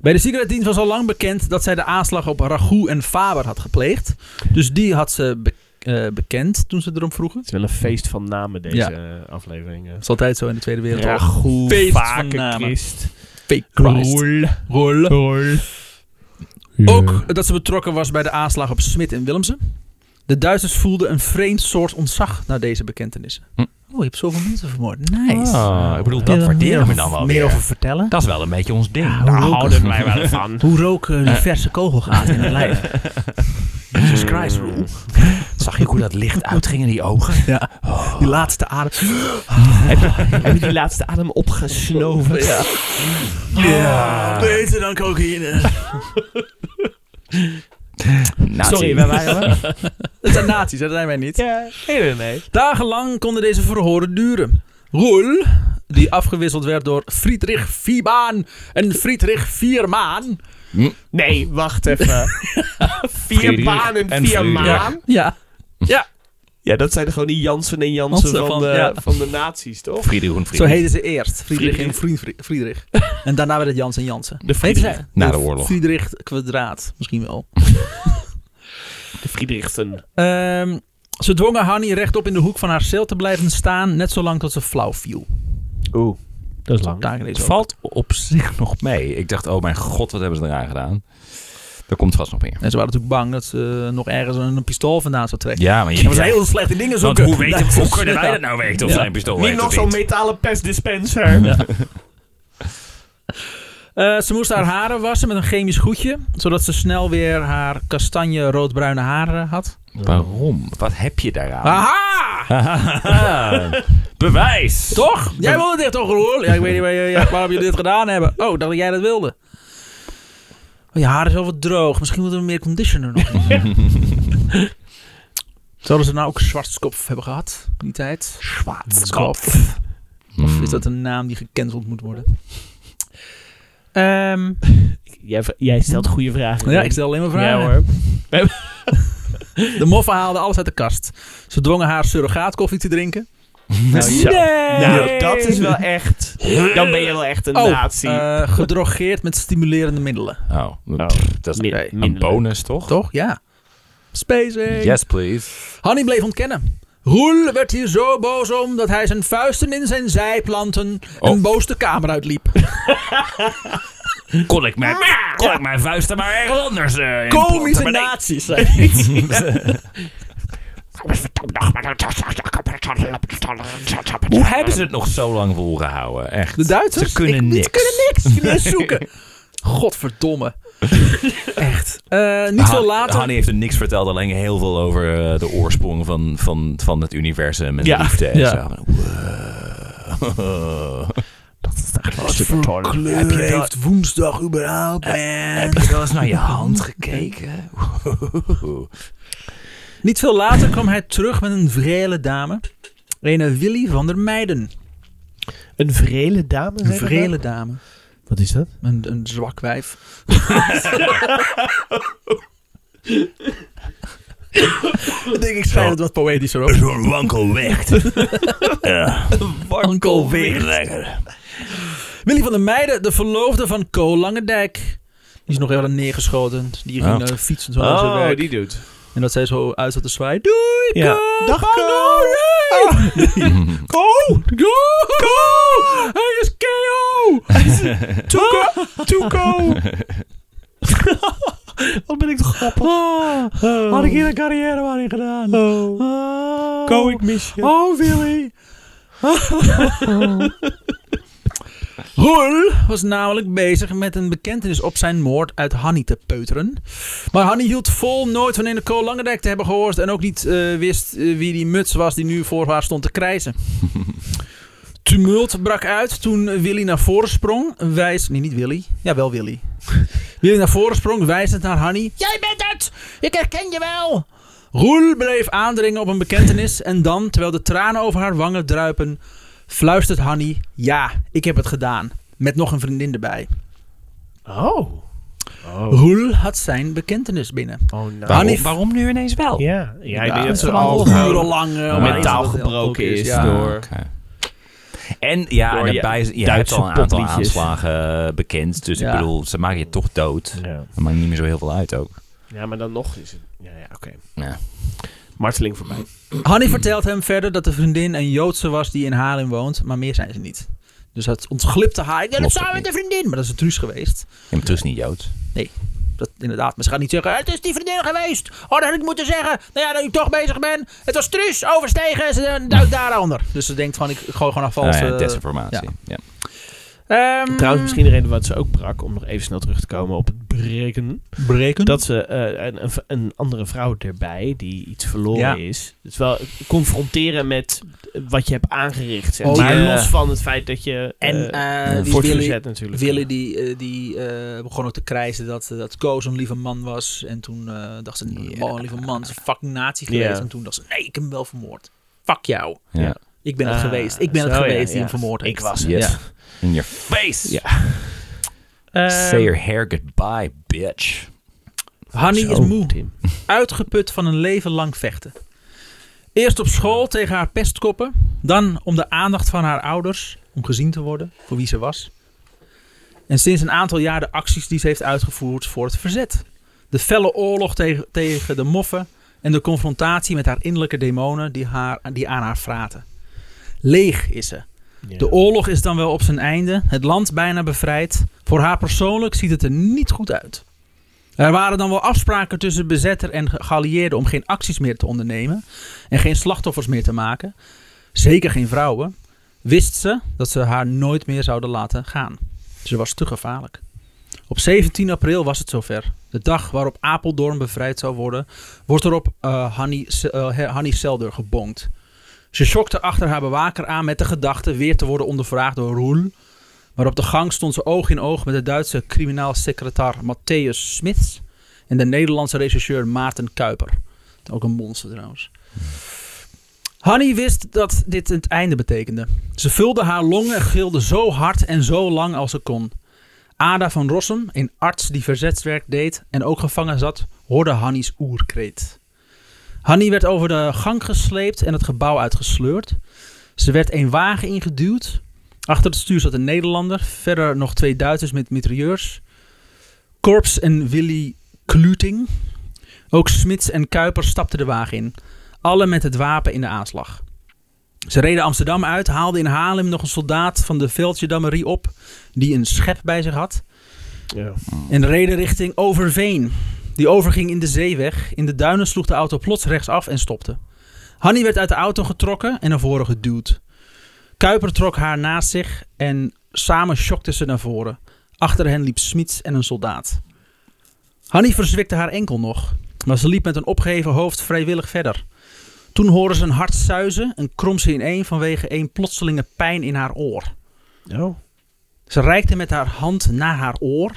[SPEAKER 1] Bij de secretdienst was al lang bekend dat zij de aanslag op Ragout en Faber had gepleegd. Dus die had ze be- eh, bekend toen ze erom vroegen.
[SPEAKER 3] Het is wel een feest van namen deze
[SPEAKER 1] Ja.
[SPEAKER 3] eh, aflevering. eh.
[SPEAKER 1] Dat is altijd zo in de Tweede
[SPEAKER 3] Ja,
[SPEAKER 1] Wereldoorlog.
[SPEAKER 3] goed.
[SPEAKER 1] Feest van
[SPEAKER 3] Vake
[SPEAKER 1] namen.
[SPEAKER 3] Christ.
[SPEAKER 1] Fake Christ.
[SPEAKER 3] Roel.
[SPEAKER 1] Roel.
[SPEAKER 3] Roel.
[SPEAKER 2] Mm.
[SPEAKER 1] Ook dat ze betrokken was bij de aanslag op Smit en Willemsen. De Duitsers voelden een vreemd soort ontzag naar deze bekentenissen.
[SPEAKER 2] Hm.
[SPEAKER 1] Oh, je hebt zoveel mensen vermoord. Nice.
[SPEAKER 2] Ah, ik bedoel, dat waarderen we dan wel
[SPEAKER 1] Meer
[SPEAKER 2] weer.
[SPEAKER 1] over vertellen?
[SPEAKER 2] Dat is wel een beetje ons ding. Nou,
[SPEAKER 3] Daar
[SPEAKER 1] roken.
[SPEAKER 3] houden wij wel van.
[SPEAKER 1] Hoe rook een verse kogel gaat in het lijf. Jesus Christ, Roel.
[SPEAKER 2] Zag je ook hoe dat licht uitging in die ogen?
[SPEAKER 1] Ja. Die laatste adem.
[SPEAKER 3] heb, je, heb je die laatste adem opgesnoven? Ja.
[SPEAKER 1] Beter dan cocaïne.
[SPEAKER 2] Nazi.
[SPEAKER 3] Sorry, waar waren we?
[SPEAKER 1] Dat zijn nazi's, dat zijn wij niet.
[SPEAKER 3] ja, nee, nee.
[SPEAKER 1] Dagenlang konden deze verhoren duren. Roel, die afgewisseld werd door Friedrich Viebaan en Friedrich Viermaan.
[SPEAKER 3] Nee, wacht even. vier
[SPEAKER 2] Friedrich
[SPEAKER 3] banen,
[SPEAKER 2] en
[SPEAKER 3] vier
[SPEAKER 2] Friedrich.
[SPEAKER 3] maan.
[SPEAKER 1] Ja. Ja,
[SPEAKER 3] Ja, dat zijn gewoon die Jansen en Jansen
[SPEAKER 1] Jansen van-
[SPEAKER 3] van, de,
[SPEAKER 1] ja.
[SPEAKER 3] van de nazi's, toch?
[SPEAKER 2] Friede Groen Friede.
[SPEAKER 1] zo heten ze eerst. Friedrich en
[SPEAKER 3] Friedrich.
[SPEAKER 1] Friedrich. Friedrich. En daarna werd het Jans en Jansen.
[SPEAKER 3] De
[SPEAKER 1] Heet
[SPEAKER 3] Friedrich.
[SPEAKER 1] ze?
[SPEAKER 2] Na de oorlog.
[SPEAKER 1] Friedrich kwadraat, misschien wel.
[SPEAKER 3] De Friedrichsen.
[SPEAKER 1] Ehm, ze dwongen Hanny rechtop in de hoek van haar cel te blijven staan, net zolang tot ze flauw viel.
[SPEAKER 3] Oeh, dat is lang.
[SPEAKER 1] Daar is
[SPEAKER 2] Het
[SPEAKER 1] ook.
[SPEAKER 2] valt op zich nog mee. Ik dacht, oh mijn god, wat hebben ze eraan gedaan? Er komt vast nog meer.
[SPEAKER 1] En ze waren natuurlijk bang dat ze eh, nog ergens een, een pistool vandaan zou trekken.
[SPEAKER 2] Ja, maar je...
[SPEAKER 1] Dat was heel slechte dingen
[SPEAKER 2] Want
[SPEAKER 1] zoeken.
[SPEAKER 2] hoe, weet
[SPEAKER 1] Ja.
[SPEAKER 2] hoe kunnen wij dat nou weten of
[SPEAKER 1] Ja.
[SPEAKER 2] zijn pistool
[SPEAKER 3] Niet
[SPEAKER 2] werkt
[SPEAKER 3] nog
[SPEAKER 2] of
[SPEAKER 3] zo'n
[SPEAKER 2] niet?
[SPEAKER 3] metalen pestdispenser.
[SPEAKER 1] Eh, ze moest haar haren wassen met een chemisch goedje, zodat ze snel weer haar kastanje roodbruine haren had.
[SPEAKER 2] Waarom? Wat heb je daaraan?
[SPEAKER 1] Aha!
[SPEAKER 2] Ah. Bewijs!
[SPEAKER 1] Toch? Jij wilde dit toch, Roel? Ja, ik weet niet waar, je- ja, waarom jullie dit gedaan hebben. Oh, dacht dat jij dat wilde. Oh, je haar is wel wat droog. Misschien moeten we meer conditioner nog. in. Zouden ze nou ook Schwarzkopf hebben gehad in die tijd? Schwarzkopf.
[SPEAKER 2] Hmm.
[SPEAKER 1] Hmm. Of is dat een naam die gecanceld moet worden? Ehm,
[SPEAKER 3] Jij, jij stelt goede vragen.
[SPEAKER 1] ja, ik stel alleen maar vragen.
[SPEAKER 3] Ja hoor.
[SPEAKER 1] De moffen haalden alles uit de kast. Ze dwongen haar surrogaatkoffie te drinken.
[SPEAKER 2] Nou,
[SPEAKER 3] Zo.
[SPEAKER 1] Nee!
[SPEAKER 3] Nou, dat is wel echt... Dan ben je wel echt een
[SPEAKER 1] Oh,
[SPEAKER 3] nazi.
[SPEAKER 1] eh, gedrogeerd met stimulerende middelen.
[SPEAKER 2] Oh,
[SPEAKER 3] Oh.
[SPEAKER 2] pff, dat is
[SPEAKER 3] Min-
[SPEAKER 1] oké.
[SPEAKER 2] een
[SPEAKER 3] minder
[SPEAKER 2] bonus, toch?
[SPEAKER 1] Toch? Ja. Spacing.
[SPEAKER 2] Yes, please.
[SPEAKER 1] Hanny bleef ontkennen. Roel werd hier zo boos om dat hij zijn vuisten in zijn zij planten en
[SPEAKER 2] Oh.
[SPEAKER 1] boos de kamer uitliep.
[SPEAKER 2] Kon ik mijn, kon ik mijn vuisten maar ergens anders eh, in
[SPEAKER 1] Komische
[SPEAKER 2] planten, maar nee.
[SPEAKER 1] nazi's. zei hij.
[SPEAKER 2] Hoe hebben ze het nog zo lang volgehouden? Echt.
[SPEAKER 1] De Duitsers?
[SPEAKER 2] Ze kunnen
[SPEAKER 1] Ik-
[SPEAKER 2] niks.
[SPEAKER 1] Ze kunnen niks. Ze kunnen niks zoeken. Godverdomme. Echt. Eh, niet
[SPEAKER 2] Han-
[SPEAKER 1] veel later.
[SPEAKER 2] Ah, Hanni heeft er niks verteld, alleen heel veel over eh, de oorsprong van, van, van het universum en
[SPEAKER 3] Ja.
[SPEAKER 2] de liefde. En
[SPEAKER 1] Ja.
[SPEAKER 2] zo. Wow.
[SPEAKER 3] Oh, Super toll.
[SPEAKER 1] Heb je heeft woensdag überhaupt, man?
[SPEAKER 2] Eh, Heb je wel eens naar je hand gekeken?
[SPEAKER 1] Niet veel later kwam hij terug met een vrele dame. Een eh, Willy van der Meijden.
[SPEAKER 3] Een vrele dame?
[SPEAKER 1] Een
[SPEAKER 3] zei dat
[SPEAKER 1] vrele
[SPEAKER 3] nou?
[SPEAKER 1] dame.
[SPEAKER 3] Wat is dat?
[SPEAKER 1] Een, een zwak wijf. Ik denk, ik schrijf het wat poëtischer op.
[SPEAKER 2] Zo'n wankel weg.
[SPEAKER 1] Wankel weer.
[SPEAKER 2] Lekker.
[SPEAKER 1] Willy van der Meijden, de verloofde van Co Langendijk. Die is nog even neergeschoten. Die ging
[SPEAKER 2] Oh.
[SPEAKER 1] eh, fietsen zo naar zijn werk.
[SPEAKER 3] die doet.
[SPEAKER 1] En dat zij zo uit zat te zwaaien. Doei,
[SPEAKER 3] Ja.
[SPEAKER 1] Co!
[SPEAKER 3] Dag, Ah.
[SPEAKER 1] Ga
[SPEAKER 3] Co!
[SPEAKER 1] door, hey! Co! Co! Hij is KO!
[SPEAKER 3] Toeko! Toeko! Wat ben ik toch grappig.
[SPEAKER 1] had ik hier een carrière maar in gedaan.
[SPEAKER 3] Oh.
[SPEAKER 1] Oh.
[SPEAKER 3] Ko, ik mis je.
[SPEAKER 1] Oh, Willy. Roel was namelijk bezig met een bekentenis op zijn moord uit Hanni te peuteren. Maar Hanni hield vol nooit van in de Kool Langendijk te hebben gehoord. En ook niet eh, wist eh, wie die muts was die nu voor haar stond te krijzen. Tumult brak uit toen Willy naar voren sprong. Wijs, nee, niet Willy. Ja, wel Willy. Willy naar voren sprong, wijzend naar Hanni. Jij bent het! Ik herken je wel! Roel bleef aandringen op een bekentenis en dan, terwijl de tranen over haar wangen druipen, fluistert Hanny: Ja, ik heb het gedaan. Met nog een vriendin erbij.
[SPEAKER 3] Oh.
[SPEAKER 1] Roel had zijn bekentenis binnen.
[SPEAKER 3] Oh, nou.
[SPEAKER 2] Waarom,
[SPEAKER 1] Hanif.
[SPEAKER 2] waarom nu ineens wel?
[SPEAKER 3] Ja, ja, ik denk dat ze
[SPEAKER 1] het
[SPEAKER 3] al
[SPEAKER 1] urenlang eh,
[SPEAKER 2] Ja,
[SPEAKER 3] nou mentaal
[SPEAKER 1] dat het heel
[SPEAKER 3] gebroken
[SPEAKER 1] goed
[SPEAKER 3] is
[SPEAKER 1] ja.
[SPEAKER 3] door-
[SPEAKER 2] Oké. En ja,
[SPEAKER 3] Door
[SPEAKER 2] en
[SPEAKER 3] je
[SPEAKER 2] daarbij, is- je hebt
[SPEAKER 3] Duitse
[SPEAKER 2] al een aantal
[SPEAKER 3] popliedjes.
[SPEAKER 2] aanslagen bekend. Dus
[SPEAKER 1] Ja.
[SPEAKER 2] ik bedoel, ze maken je toch dood.
[SPEAKER 3] Ja.
[SPEAKER 2] Dat maakt niet meer zo heel veel uit ook.
[SPEAKER 3] ja, maar dan nog is het... Ja, ja oké.
[SPEAKER 2] Ja.
[SPEAKER 3] Marteling voorbij.
[SPEAKER 1] Hanny vertelt hem verder dat de vriendin een Joodse was die in Haarlem woont, maar meer zijn ze niet. Dus het ontglipte haar. Ik ben
[SPEAKER 2] Klopt
[SPEAKER 1] samen
[SPEAKER 2] ook
[SPEAKER 1] met de vriendin, maar dat is een truus geweest.
[SPEAKER 2] En terug is niet Joods.
[SPEAKER 1] Dat inderdaad. Maar ze gaat niet zeggen, het is die vriendin geweest. Oh, dat had ik moeten zeggen. Nou ja, dat ik toch bezig ben. Het was truus, overstegen, ze eh, duikt daaronder. Dus ze denkt van, ik gooi gewoon een valse...
[SPEAKER 2] Nou ja, desinformatie. Ja.
[SPEAKER 1] Ehm,
[SPEAKER 3] Trouwens, misschien de reden wat ze ook brak, om nog even snel terug te komen op het breken.
[SPEAKER 1] breken.
[SPEAKER 3] Dat ze eh, een, een, een andere vrouw erbij, die iets verloren
[SPEAKER 1] Ja.
[SPEAKER 3] is. Dus wel confronteren met wat je hebt aangericht. Zeg.
[SPEAKER 1] Oh,
[SPEAKER 3] maar Eh,
[SPEAKER 1] ja.
[SPEAKER 3] los van het feit dat je...
[SPEAKER 1] en
[SPEAKER 3] eh,
[SPEAKER 1] eh,
[SPEAKER 2] ja.
[SPEAKER 1] die
[SPEAKER 3] voor het
[SPEAKER 1] Willy,
[SPEAKER 3] verzet natuurlijk.
[SPEAKER 1] Willy die, eh, die eh, begon ook te krijzen dat, eh, dat Koos een lieve man was. En toen eh, dacht ze,
[SPEAKER 2] Ja.
[SPEAKER 1] oh, een lieve man, het is een fucking nazi geweest.
[SPEAKER 3] Ja.
[SPEAKER 1] En toen dacht ze, nee, ik heb hem wel vermoord. Fuck jou.
[SPEAKER 2] Ja.
[SPEAKER 3] Ja.
[SPEAKER 1] Ik ben het
[SPEAKER 3] Ah,
[SPEAKER 1] geweest. Ik ben het
[SPEAKER 3] zo, ja,
[SPEAKER 1] geweest die
[SPEAKER 3] ja.
[SPEAKER 1] hem vermoord heeft.
[SPEAKER 3] Ik was
[SPEAKER 2] het. Yes.
[SPEAKER 1] Ja.
[SPEAKER 2] In your face.
[SPEAKER 3] Ja.
[SPEAKER 1] Eh,
[SPEAKER 2] Say your hair goodbye, bitch.
[SPEAKER 1] Hanny is
[SPEAKER 3] Zo, Oh,
[SPEAKER 1] moe.
[SPEAKER 3] Tim.
[SPEAKER 1] uitgeput van een leven lang vechten. Eerst op school tegen haar pestkoppen, dan om de aandacht van haar ouders, om gezien te worden voor wie ze was. En sinds een aantal jaar de acties die ze heeft uitgevoerd voor het verzet. De felle oorlog tegen, tegen de moffen en de confrontatie met haar innerlijke demonen die, haar, die aan haar vraten. Leeg is ze.
[SPEAKER 3] Ja.
[SPEAKER 1] De oorlog is dan wel op zijn einde, het land bijna bevrijd. Voor haar persoonlijk ziet het er niet goed uit. Er waren dan wel afspraken tussen bezetter en ge- geallieerden om geen acties meer te ondernemen en geen slachtoffers meer te maken, zeker geen vrouwen, wist ze dat ze haar nooit meer zouden laten gaan. Ze was te gevaarlijk. Op 17 april was het zover. De dag waarop Apeldoorn bevrijd zou worden, wordt er op eh Hanni Se- eh, Hanni Selder gebonkt. Ze schokte achter haar bewaker aan met de gedachte weer te worden ondervraagd door Roel. Maar op de gang stond ze oog in oog met de Duitse criminaal secretaar Matthäus Smits en de Nederlandse regisseur Maarten Kuiper. Ook een monster trouwens. Hanny wist dat dit het einde betekende. Ze vulde haar longen en gilde zo hard en zo lang als ze kon. Ada van Rossum, een arts die verzetswerk deed en ook gevangen zat, hoorde Hannies oerkreet. Hanny werd over de gang gesleept en het gebouw uitgesleurd. Ze werd een wagen ingeduwd. Achter het stuur zat een Nederlander, verder nog twee Duitsers met mitrailleurs. Korps en Willy Kluting. Ook Smits en Kuiper stapten de wagen in. Alle met het wapen in de aanslag. Ze reden Amsterdam uit, haalden in Haarlem nog een soldaat van de Veldjedammerie op, die een schep bij zich had,
[SPEAKER 3] Ja.
[SPEAKER 1] en reden richting Overveen. Die overging in de zeeweg. In de duinen sloeg de auto plots rechtsaf en stopte. Hanny werd uit de auto getrokken en naar voren geduwd. Kuiper trok haar naast zich en samen schokten ze naar voren. Achter hen liep Smits en een soldaat. Hanny verzwikte haar enkel nog, maar ze liep met een opgeheven hoofd vrijwillig verder. Toen hoorde ze een hard suizen en kromp ze ineen vanwege een plotselinge pijn in haar oor.
[SPEAKER 3] Oh.
[SPEAKER 1] Ze reikte met haar hand naar haar oor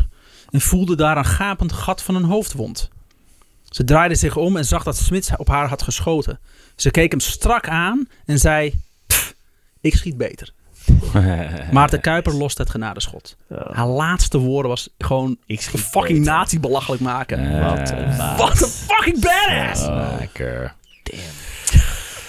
[SPEAKER 1] en voelde daar een gapend gat van een hoofdwond. Ze draaide zich om en zag dat Smits op haar had geschoten. Ze keek hem strak aan en zei: "Pff, Ik schiet beter. Maarten Kuiper lost het genadeschot. Haar laatste woorden was gewoon:
[SPEAKER 3] Ik Oh. schiet
[SPEAKER 1] fucking
[SPEAKER 3] beter.
[SPEAKER 1] nazi belachelijk maken.
[SPEAKER 2] Eh,
[SPEAKER 3] Wat een baas.
[SPEAKER 1] Wat een fucking badass!
[SPEAKER 2] oh, lekker.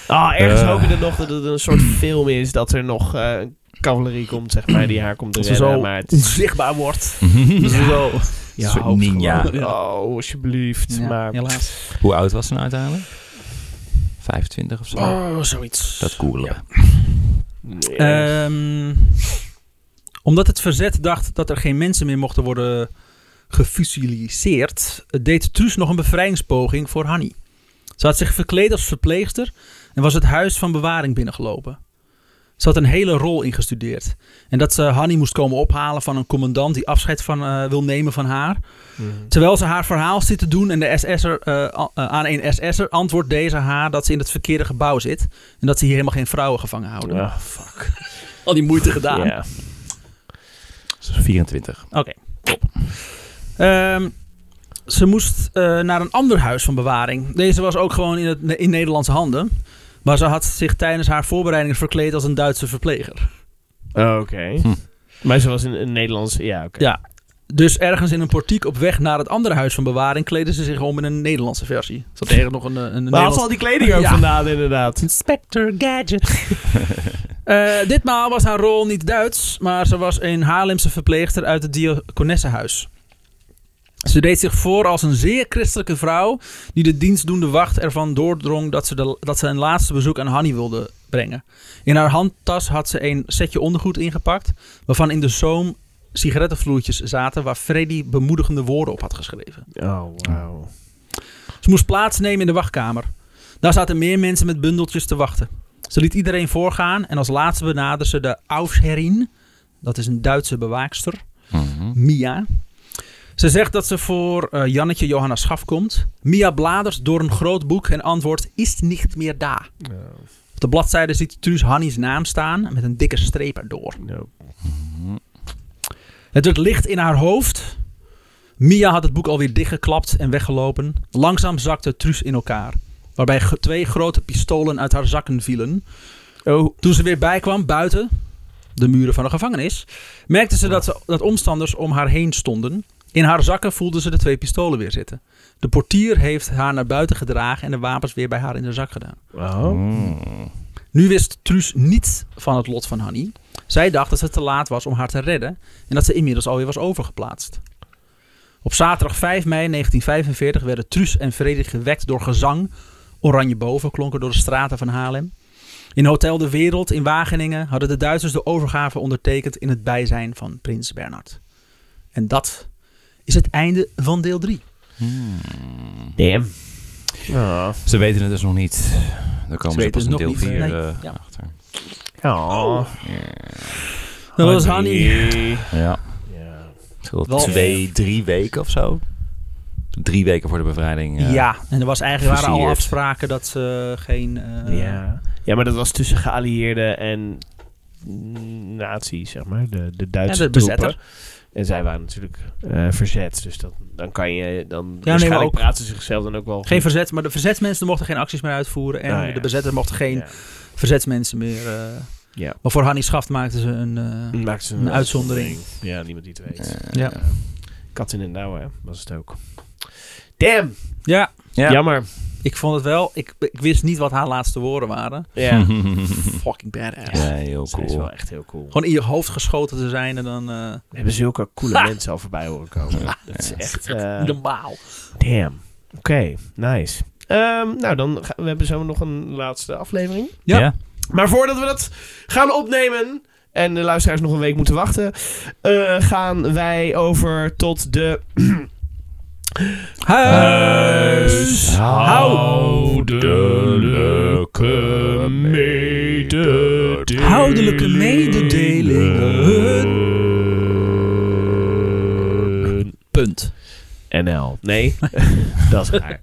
[SPEAKER 3] Ah, ergens
[SPEAKER 2] Eh.
[SPEAKER 3] hoop ik er nog dat het een soort film is dat er nog eh, cavalerie komt, zeg maar, die haar komt te
[SPEAKER 1] Als ze
[SPEAKER 3] redden.
[SPEAKER 1] zo
[SPEAKER 3] maar het is
[SPEAKER 1] onzichtbaar wordt.
[SPEAKER 2] Een
[SPEAKER 1] Als ze zo.
[SPEAKER 3] je
[SPEAKER 2] soort
[SPEAKER 3] hoopt
[SPEAKER 2] ninja.
[SPEAKER 3] gewoon, Oh, alsjeblieft.
[SPEAKER 1] Ja,
[SPEAKER 3] maar
[SPEAKER 1] helaas.
[SPEAKER 2] Hoe oud was ze nou uiteindelijk? 25 of zo?
[SPEAKER 1] Oh, zoiets.
[SPEAKER 2] Dat googelen.
[SPEAKER 3] nee.
[SPEAKER 1] Eh, Ehm, omdat het verzet dacht dat er geen mensen meer mochten worden gefusiliseerd, deed Truus nog een bevrijdingspoging voor Hanny. Ze had zich verkleed als verpleegster en was het huis van bewaring binnengelopen. Ze had een hele rol ingestudeerd. En dat ze Hanny moest komen ophalen van een commandant die afscheid van, eh, wil nemen van haar. Terwijl ze haar verhaal zit te doen en de SS'er, eh, a- eh, aan een SS'er antwoordt deze haar dat ze in het verkeerde gebouw zit. En dat ze hier helemaal geen vrouwen gevangen houden.
[SPEAKER 3] Ah, fuck.
[SPEAKER 1] Al die moeite gedaan.
[SPEAKER 3] Ja.
[SPEAKER 2] 24.
[SPEAKER 1] Oké. Ehm, ze moest eh, naar een ander huis van bewaring. Deze was ook gewoon in, het, in Nederlandse handen. Maar ze had zich tijdens haar voorbereidingen verkleed als een Duitse verpleger.
[SPEAKER 3] Oh, Oké.
[SPEAKER 2] Hm.
[SPEAKER 3] Maar ze was in een Nederlands... Ja, oké.
[SPEAKER 1] Ja. Dus ergens in een portiek op weg naar het andere huis van bewaring kleden ze zich om in een Nederlandse versie. Ze had ergens nog een, eh, een
[SPEAKER 3] Waar had
[SPEAKER 1] Nederlandse...
[SPEAKER 3] ze al die kleding ook
[SPEAKER 1] Ja.
[SPEAKER 3] vandaan, inderdaad?
[SPEAKER 1] Inspector Gadget. Eh, ditmaal was haar rol niet Duits, maar ze was een Haarlemse verpleegster uit het Diakonessenhuis. Ze deed zich voor als een zeer christelijke vrouw die de dienstdoende wacht ervan doordrong dat ze, de, dat ze een laatste bezoek aan Hanny wilde brengen. In haar handtas had ze een setje ondergoed ingepakt, waarvan in de zoom sigarettenvloertjes zaten waar Freddy bemoedigende woorden op had geschreven.
[SPEAKER 3] Oh, wow.
[SPEAKER 1] Ze moest plaatsnemen in de wachtkamer. Daar zaten meer mensen met bundeltjes te wachten. Ze liet iedereen voorgaan en als laatste benaderde ze de Aufsherin. Dat is een Duitse bewaakster,
[SPEAKER 2] Mhm.
[SPEAKER 1] Mia. Ze zegt dat ze voor eh, Jannetje Johanna Schaf komt. Mia bladert door een groot boek en antwoordt: Is niet meer daar. Op de bladzijde ziet Truus Hannies naam staan met een dikke streep erdoor.
[SPEAKER 3] No.
[SPEAKER 1] Het werd licht in haar hoofd. Mia had het boek alweer dichtgeklapt en weggelopen. Langzaam zakte Truus in elkaar. Waarbij ge- twee grote pistolen uit haar zakken vielen.
[SPEAKER 3] Oh.
[SPEAKER 1] Toen ze weer bijkwam, buiten de muren van de gevangenis, merkte ze dat, ze dat omstanders om haar heen stonden. In haar zakken voelde ze de twee pistolen weer zitten. De portier heeft haar naar buiten gedragen en de wapens weer bij haar in de zak gedaan. Hm.
[SPEAKER 3] Wow.
[SPEAKER 2] Mm.
[SPEAKER 1] Nu wist Truus niets van het lot van Hanny. Zij dacht dat het te laat was om haar te redden en dat ze inmiddels alweer was overgeplaatst. Op zaterdag 5 mei 1945 werden Truus en Frederik gewekt door gezang. Oranje boven klonken door de straten van Haarlem. In Hotel de Wereld in Wageningen hadden de Duitsers de overgave ondertekend in het bijzijn van prins Bernhard. En dat is het einde van deel 3.
[SPEAKER 3] Damn. Oh.
[SPEAKER 2] Ze weten het dus nog niet. Daar komen ze,
[SPEAKER 1] weten
[SPEAKER 2] pas
[SPEAKER 1] het nog
[SPEAKER 2] in deel
[SPEAKER 1] niet,
[SPEAKER 2] 4
[SPEAKER 1] nee.
[SPEAKER 2] eh,
[SPEAKER 1] Ja.
[SPEAKER 2] achter.
[SPEAKER 3] Oh.
[SPEAKER 1] Dat was Hanny.
[SPEAKER 2] Ja.
[SPEAKER 3] Ja.
[SPEAKER 2] Zo
[SPEAKER 1] Wel-
[SPEAKER 2] twee, drie weken of zo. Drie weken voor de bevrijding. eh,
[SPEAKER 1] Ja, en er was eigenlijk, waren al
[SPEAKER 2] Versierd.
[SPEAKER 1] afspraken dat ze geen... eh,
[SPEAKER 3] ja. ja, maar dat was tussen geallieerden en mm, nazi's, zeg maar. De, de Duitse
[SPEAKER 1] Ja, de
[SPEAKER 3] troepen.
[SPEAKER 1] bezetter.
[SPEAKER 3] En zij waren natuurlijk eh, verzet. Dus dat, dan kan je... Dan
[SPEAKER 1] nee,
[SPEAKER 3] waarschijnlijk
[SPEAKER 1] maar ook-
[SPEAKER 3] praten ze zichzelf dan ook wel...
[SPEAKER 1] Geen
[SPEAKER 3] goed.
[SPEAKER 1] verzet, maar de verzetsmensen mochten geen acties meer uitvoeren. En
[SPEAKER 3] Nou ja.
[SPEAKER 1] de bezetter mocht geen
[SPEAKER 3] Ja.
[SPEAKER 1] verzetsmensen meer. eh.
[SPEAKER 3] Ja.
[SPEAKER 1] Maar voor Hanni Schaft maakten ze een. eh,
[SPEAKER 3] Dan maakten ze
[SPEAKER 1] Een uitzondering.
[SPEAKER 3] Ja, niemand die het weet.
[SPEAKER 1] ja.
[SPEAKER 3] Kat in het nauw, hè. Was het ook. Damn!
[SPEAKER 1] ja,
[SPEAKER 2] Ja.
[SPEAKER 3] Jammer.
[SPEAKER 1] ik vond het wel. Ik, ik wist niet wat haar laatste woorden waren.
[SPEAKER 3] Ja.
[SPEAKER 1] Fucking badass.
[SPEAKER 2] Ja, heel
[SPEAKER 3] Dat is
[SPEAKER 2] cool.
[SPEAKER 3] wel echt heel cool.
[SPEAKER 1] Gewoon in je hoofd geschoten te zijn en dan. eh,
[SPEAKER 3] We hebben zulke coole mensen al voorbij horen komen. Dat is echt... eh,
[SPEAKER 1] niet normaal.
[SPEAKER 3] damn. Oké, nice. Ehm, nou, dan ga- we hebben zo nog een laatste aflevering.
[SPEAKER 1] Ja.
[SPEAKER 3] Maar voordat we dat gaan opnemen en de luisteraars nog een week moeten wachten, eh, gaan wij over tot de
[SPEAKER 1] Huis.
[SPEAKER 3] huishoudelijke mededeling.
[SPEAKER 1] Houdelijke mededelingen. Punt.
[SPEAKER 3] NL. Nee, dat is raar.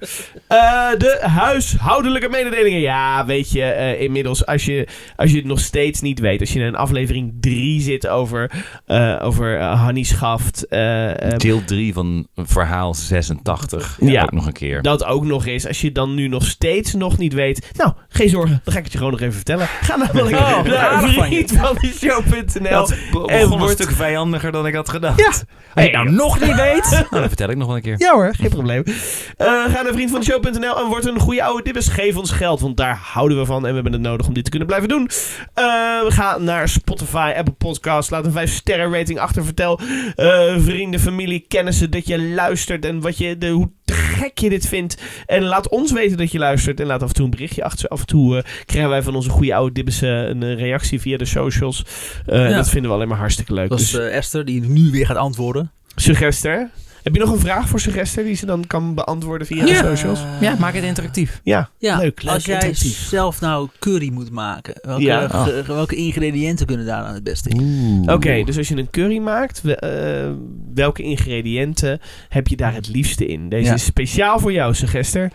[SPEAKER 3] Eh, de huishoudelijke mededelingen. Ja, weet je, eh, inmiddels, als je, als je het nog steeds niet weet, als je in aflevering 3 zit over, eh over eh, Hannie Schaft, eh, eh,
[SPEAKER 2] Deel 3 van verhaal 86.
[SPEAKER 3] Ja.
[SPEAKER 2] Ja. Ook nog een keer.
[SPEAKER 3] dat ook nog eens, als je dan nu nog steeds nog niet weet, nou, geen zorgen, dan ga ik het je gewoon nog even vertellen. Ga namelijk
[SPEAKER 1] Oh, wat
[SPEAKER 3] naar
[SPEAKER 1] aardig van je.
[SPEAKER 3] vriendvandeshow.nl.
[SPEAKER 2] en
[SPEAKER 3] wordt-
[SPEAKER 2] wordt een stuk vijandiger dan ik had gedacht.
[SPEAKER 3] Ja.
[SPEAKER 2] Als je het nou
[SPEAKER 3] Hey.
[SPEAKER 2] nog niet weet, nou, dan vertel ik nog wel een keer.
[SPEAKER 3] Ja hoor, geen probleem. Eh, ga naar vriendvandeshow.nl en word een goede oude dibbes. Geef ons geld, want daar houden we van en we hebben het nodig om dit te kunnen blijven doen. Eh, ga naar Spotify, Apple Podcasts. Laat een 5 sterren rating achter. Vertel eh, vrienden, familie, kennissen dat je luistert en wat je, de, hoe te gek je dit vindt. En laat ons weten dat je luistert en laat af en toe een berichtje achter. Af en toe eh, krijgen wij van onze goede oude dibbes eh, een eh, reactie via de socials. Eh,
[SPEAKER 1] Ja.
[SPEAKER 3] Dat vinden we alleen maar hartstikke leuk.
[SPEAKER 1] Dat is
[SPEAKER 3] Dus
[SPEAKER 1] eh, Esther die nu weer gaat antwoorden.
[SPEAKER 3] suggester. Heb je nog een vraag voor Suggestie die ze dan kan beantwoorden via
[SPEAKER 1] Ja.
[SPEAKER 3] de socials?
[SPEAKER 2] Ja, maak het interactief.
[SPEAKER 3] Ja,
[SPEAKER 1] Ja,
[SPEAKER 3] leuk. leuk
[SPEAKER 1] als jij
[SPEAKER 3] interactief.
[SPEAKER 1] zelf nou curry moet maken, welke,
[SPEAKER 3] Ja.
[SPEAKER 1] ge- welke ingrediënten kunnen daar dan het beste in?
[SPEAKER 3] Oké, dus als je een curry maakt, we- eh, welke ingrediënten heb je daar het liefste in? Deze
[SPEAKER 1] Ja.
[SPEAKER 3] is speciaal voor jou, suggester.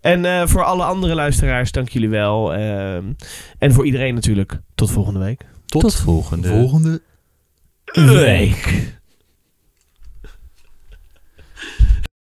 [SPEAKER 3] En eh, voor alle andere luisteraars, dank jullie wel. Ehm, en voor iedereen natuurlijk, tot volgende week.
[SPEAKER 1] Tot,
[SPEAKER 2] volgende.
[SPEAKER 1] volgende
[SPEAKER 3] Week.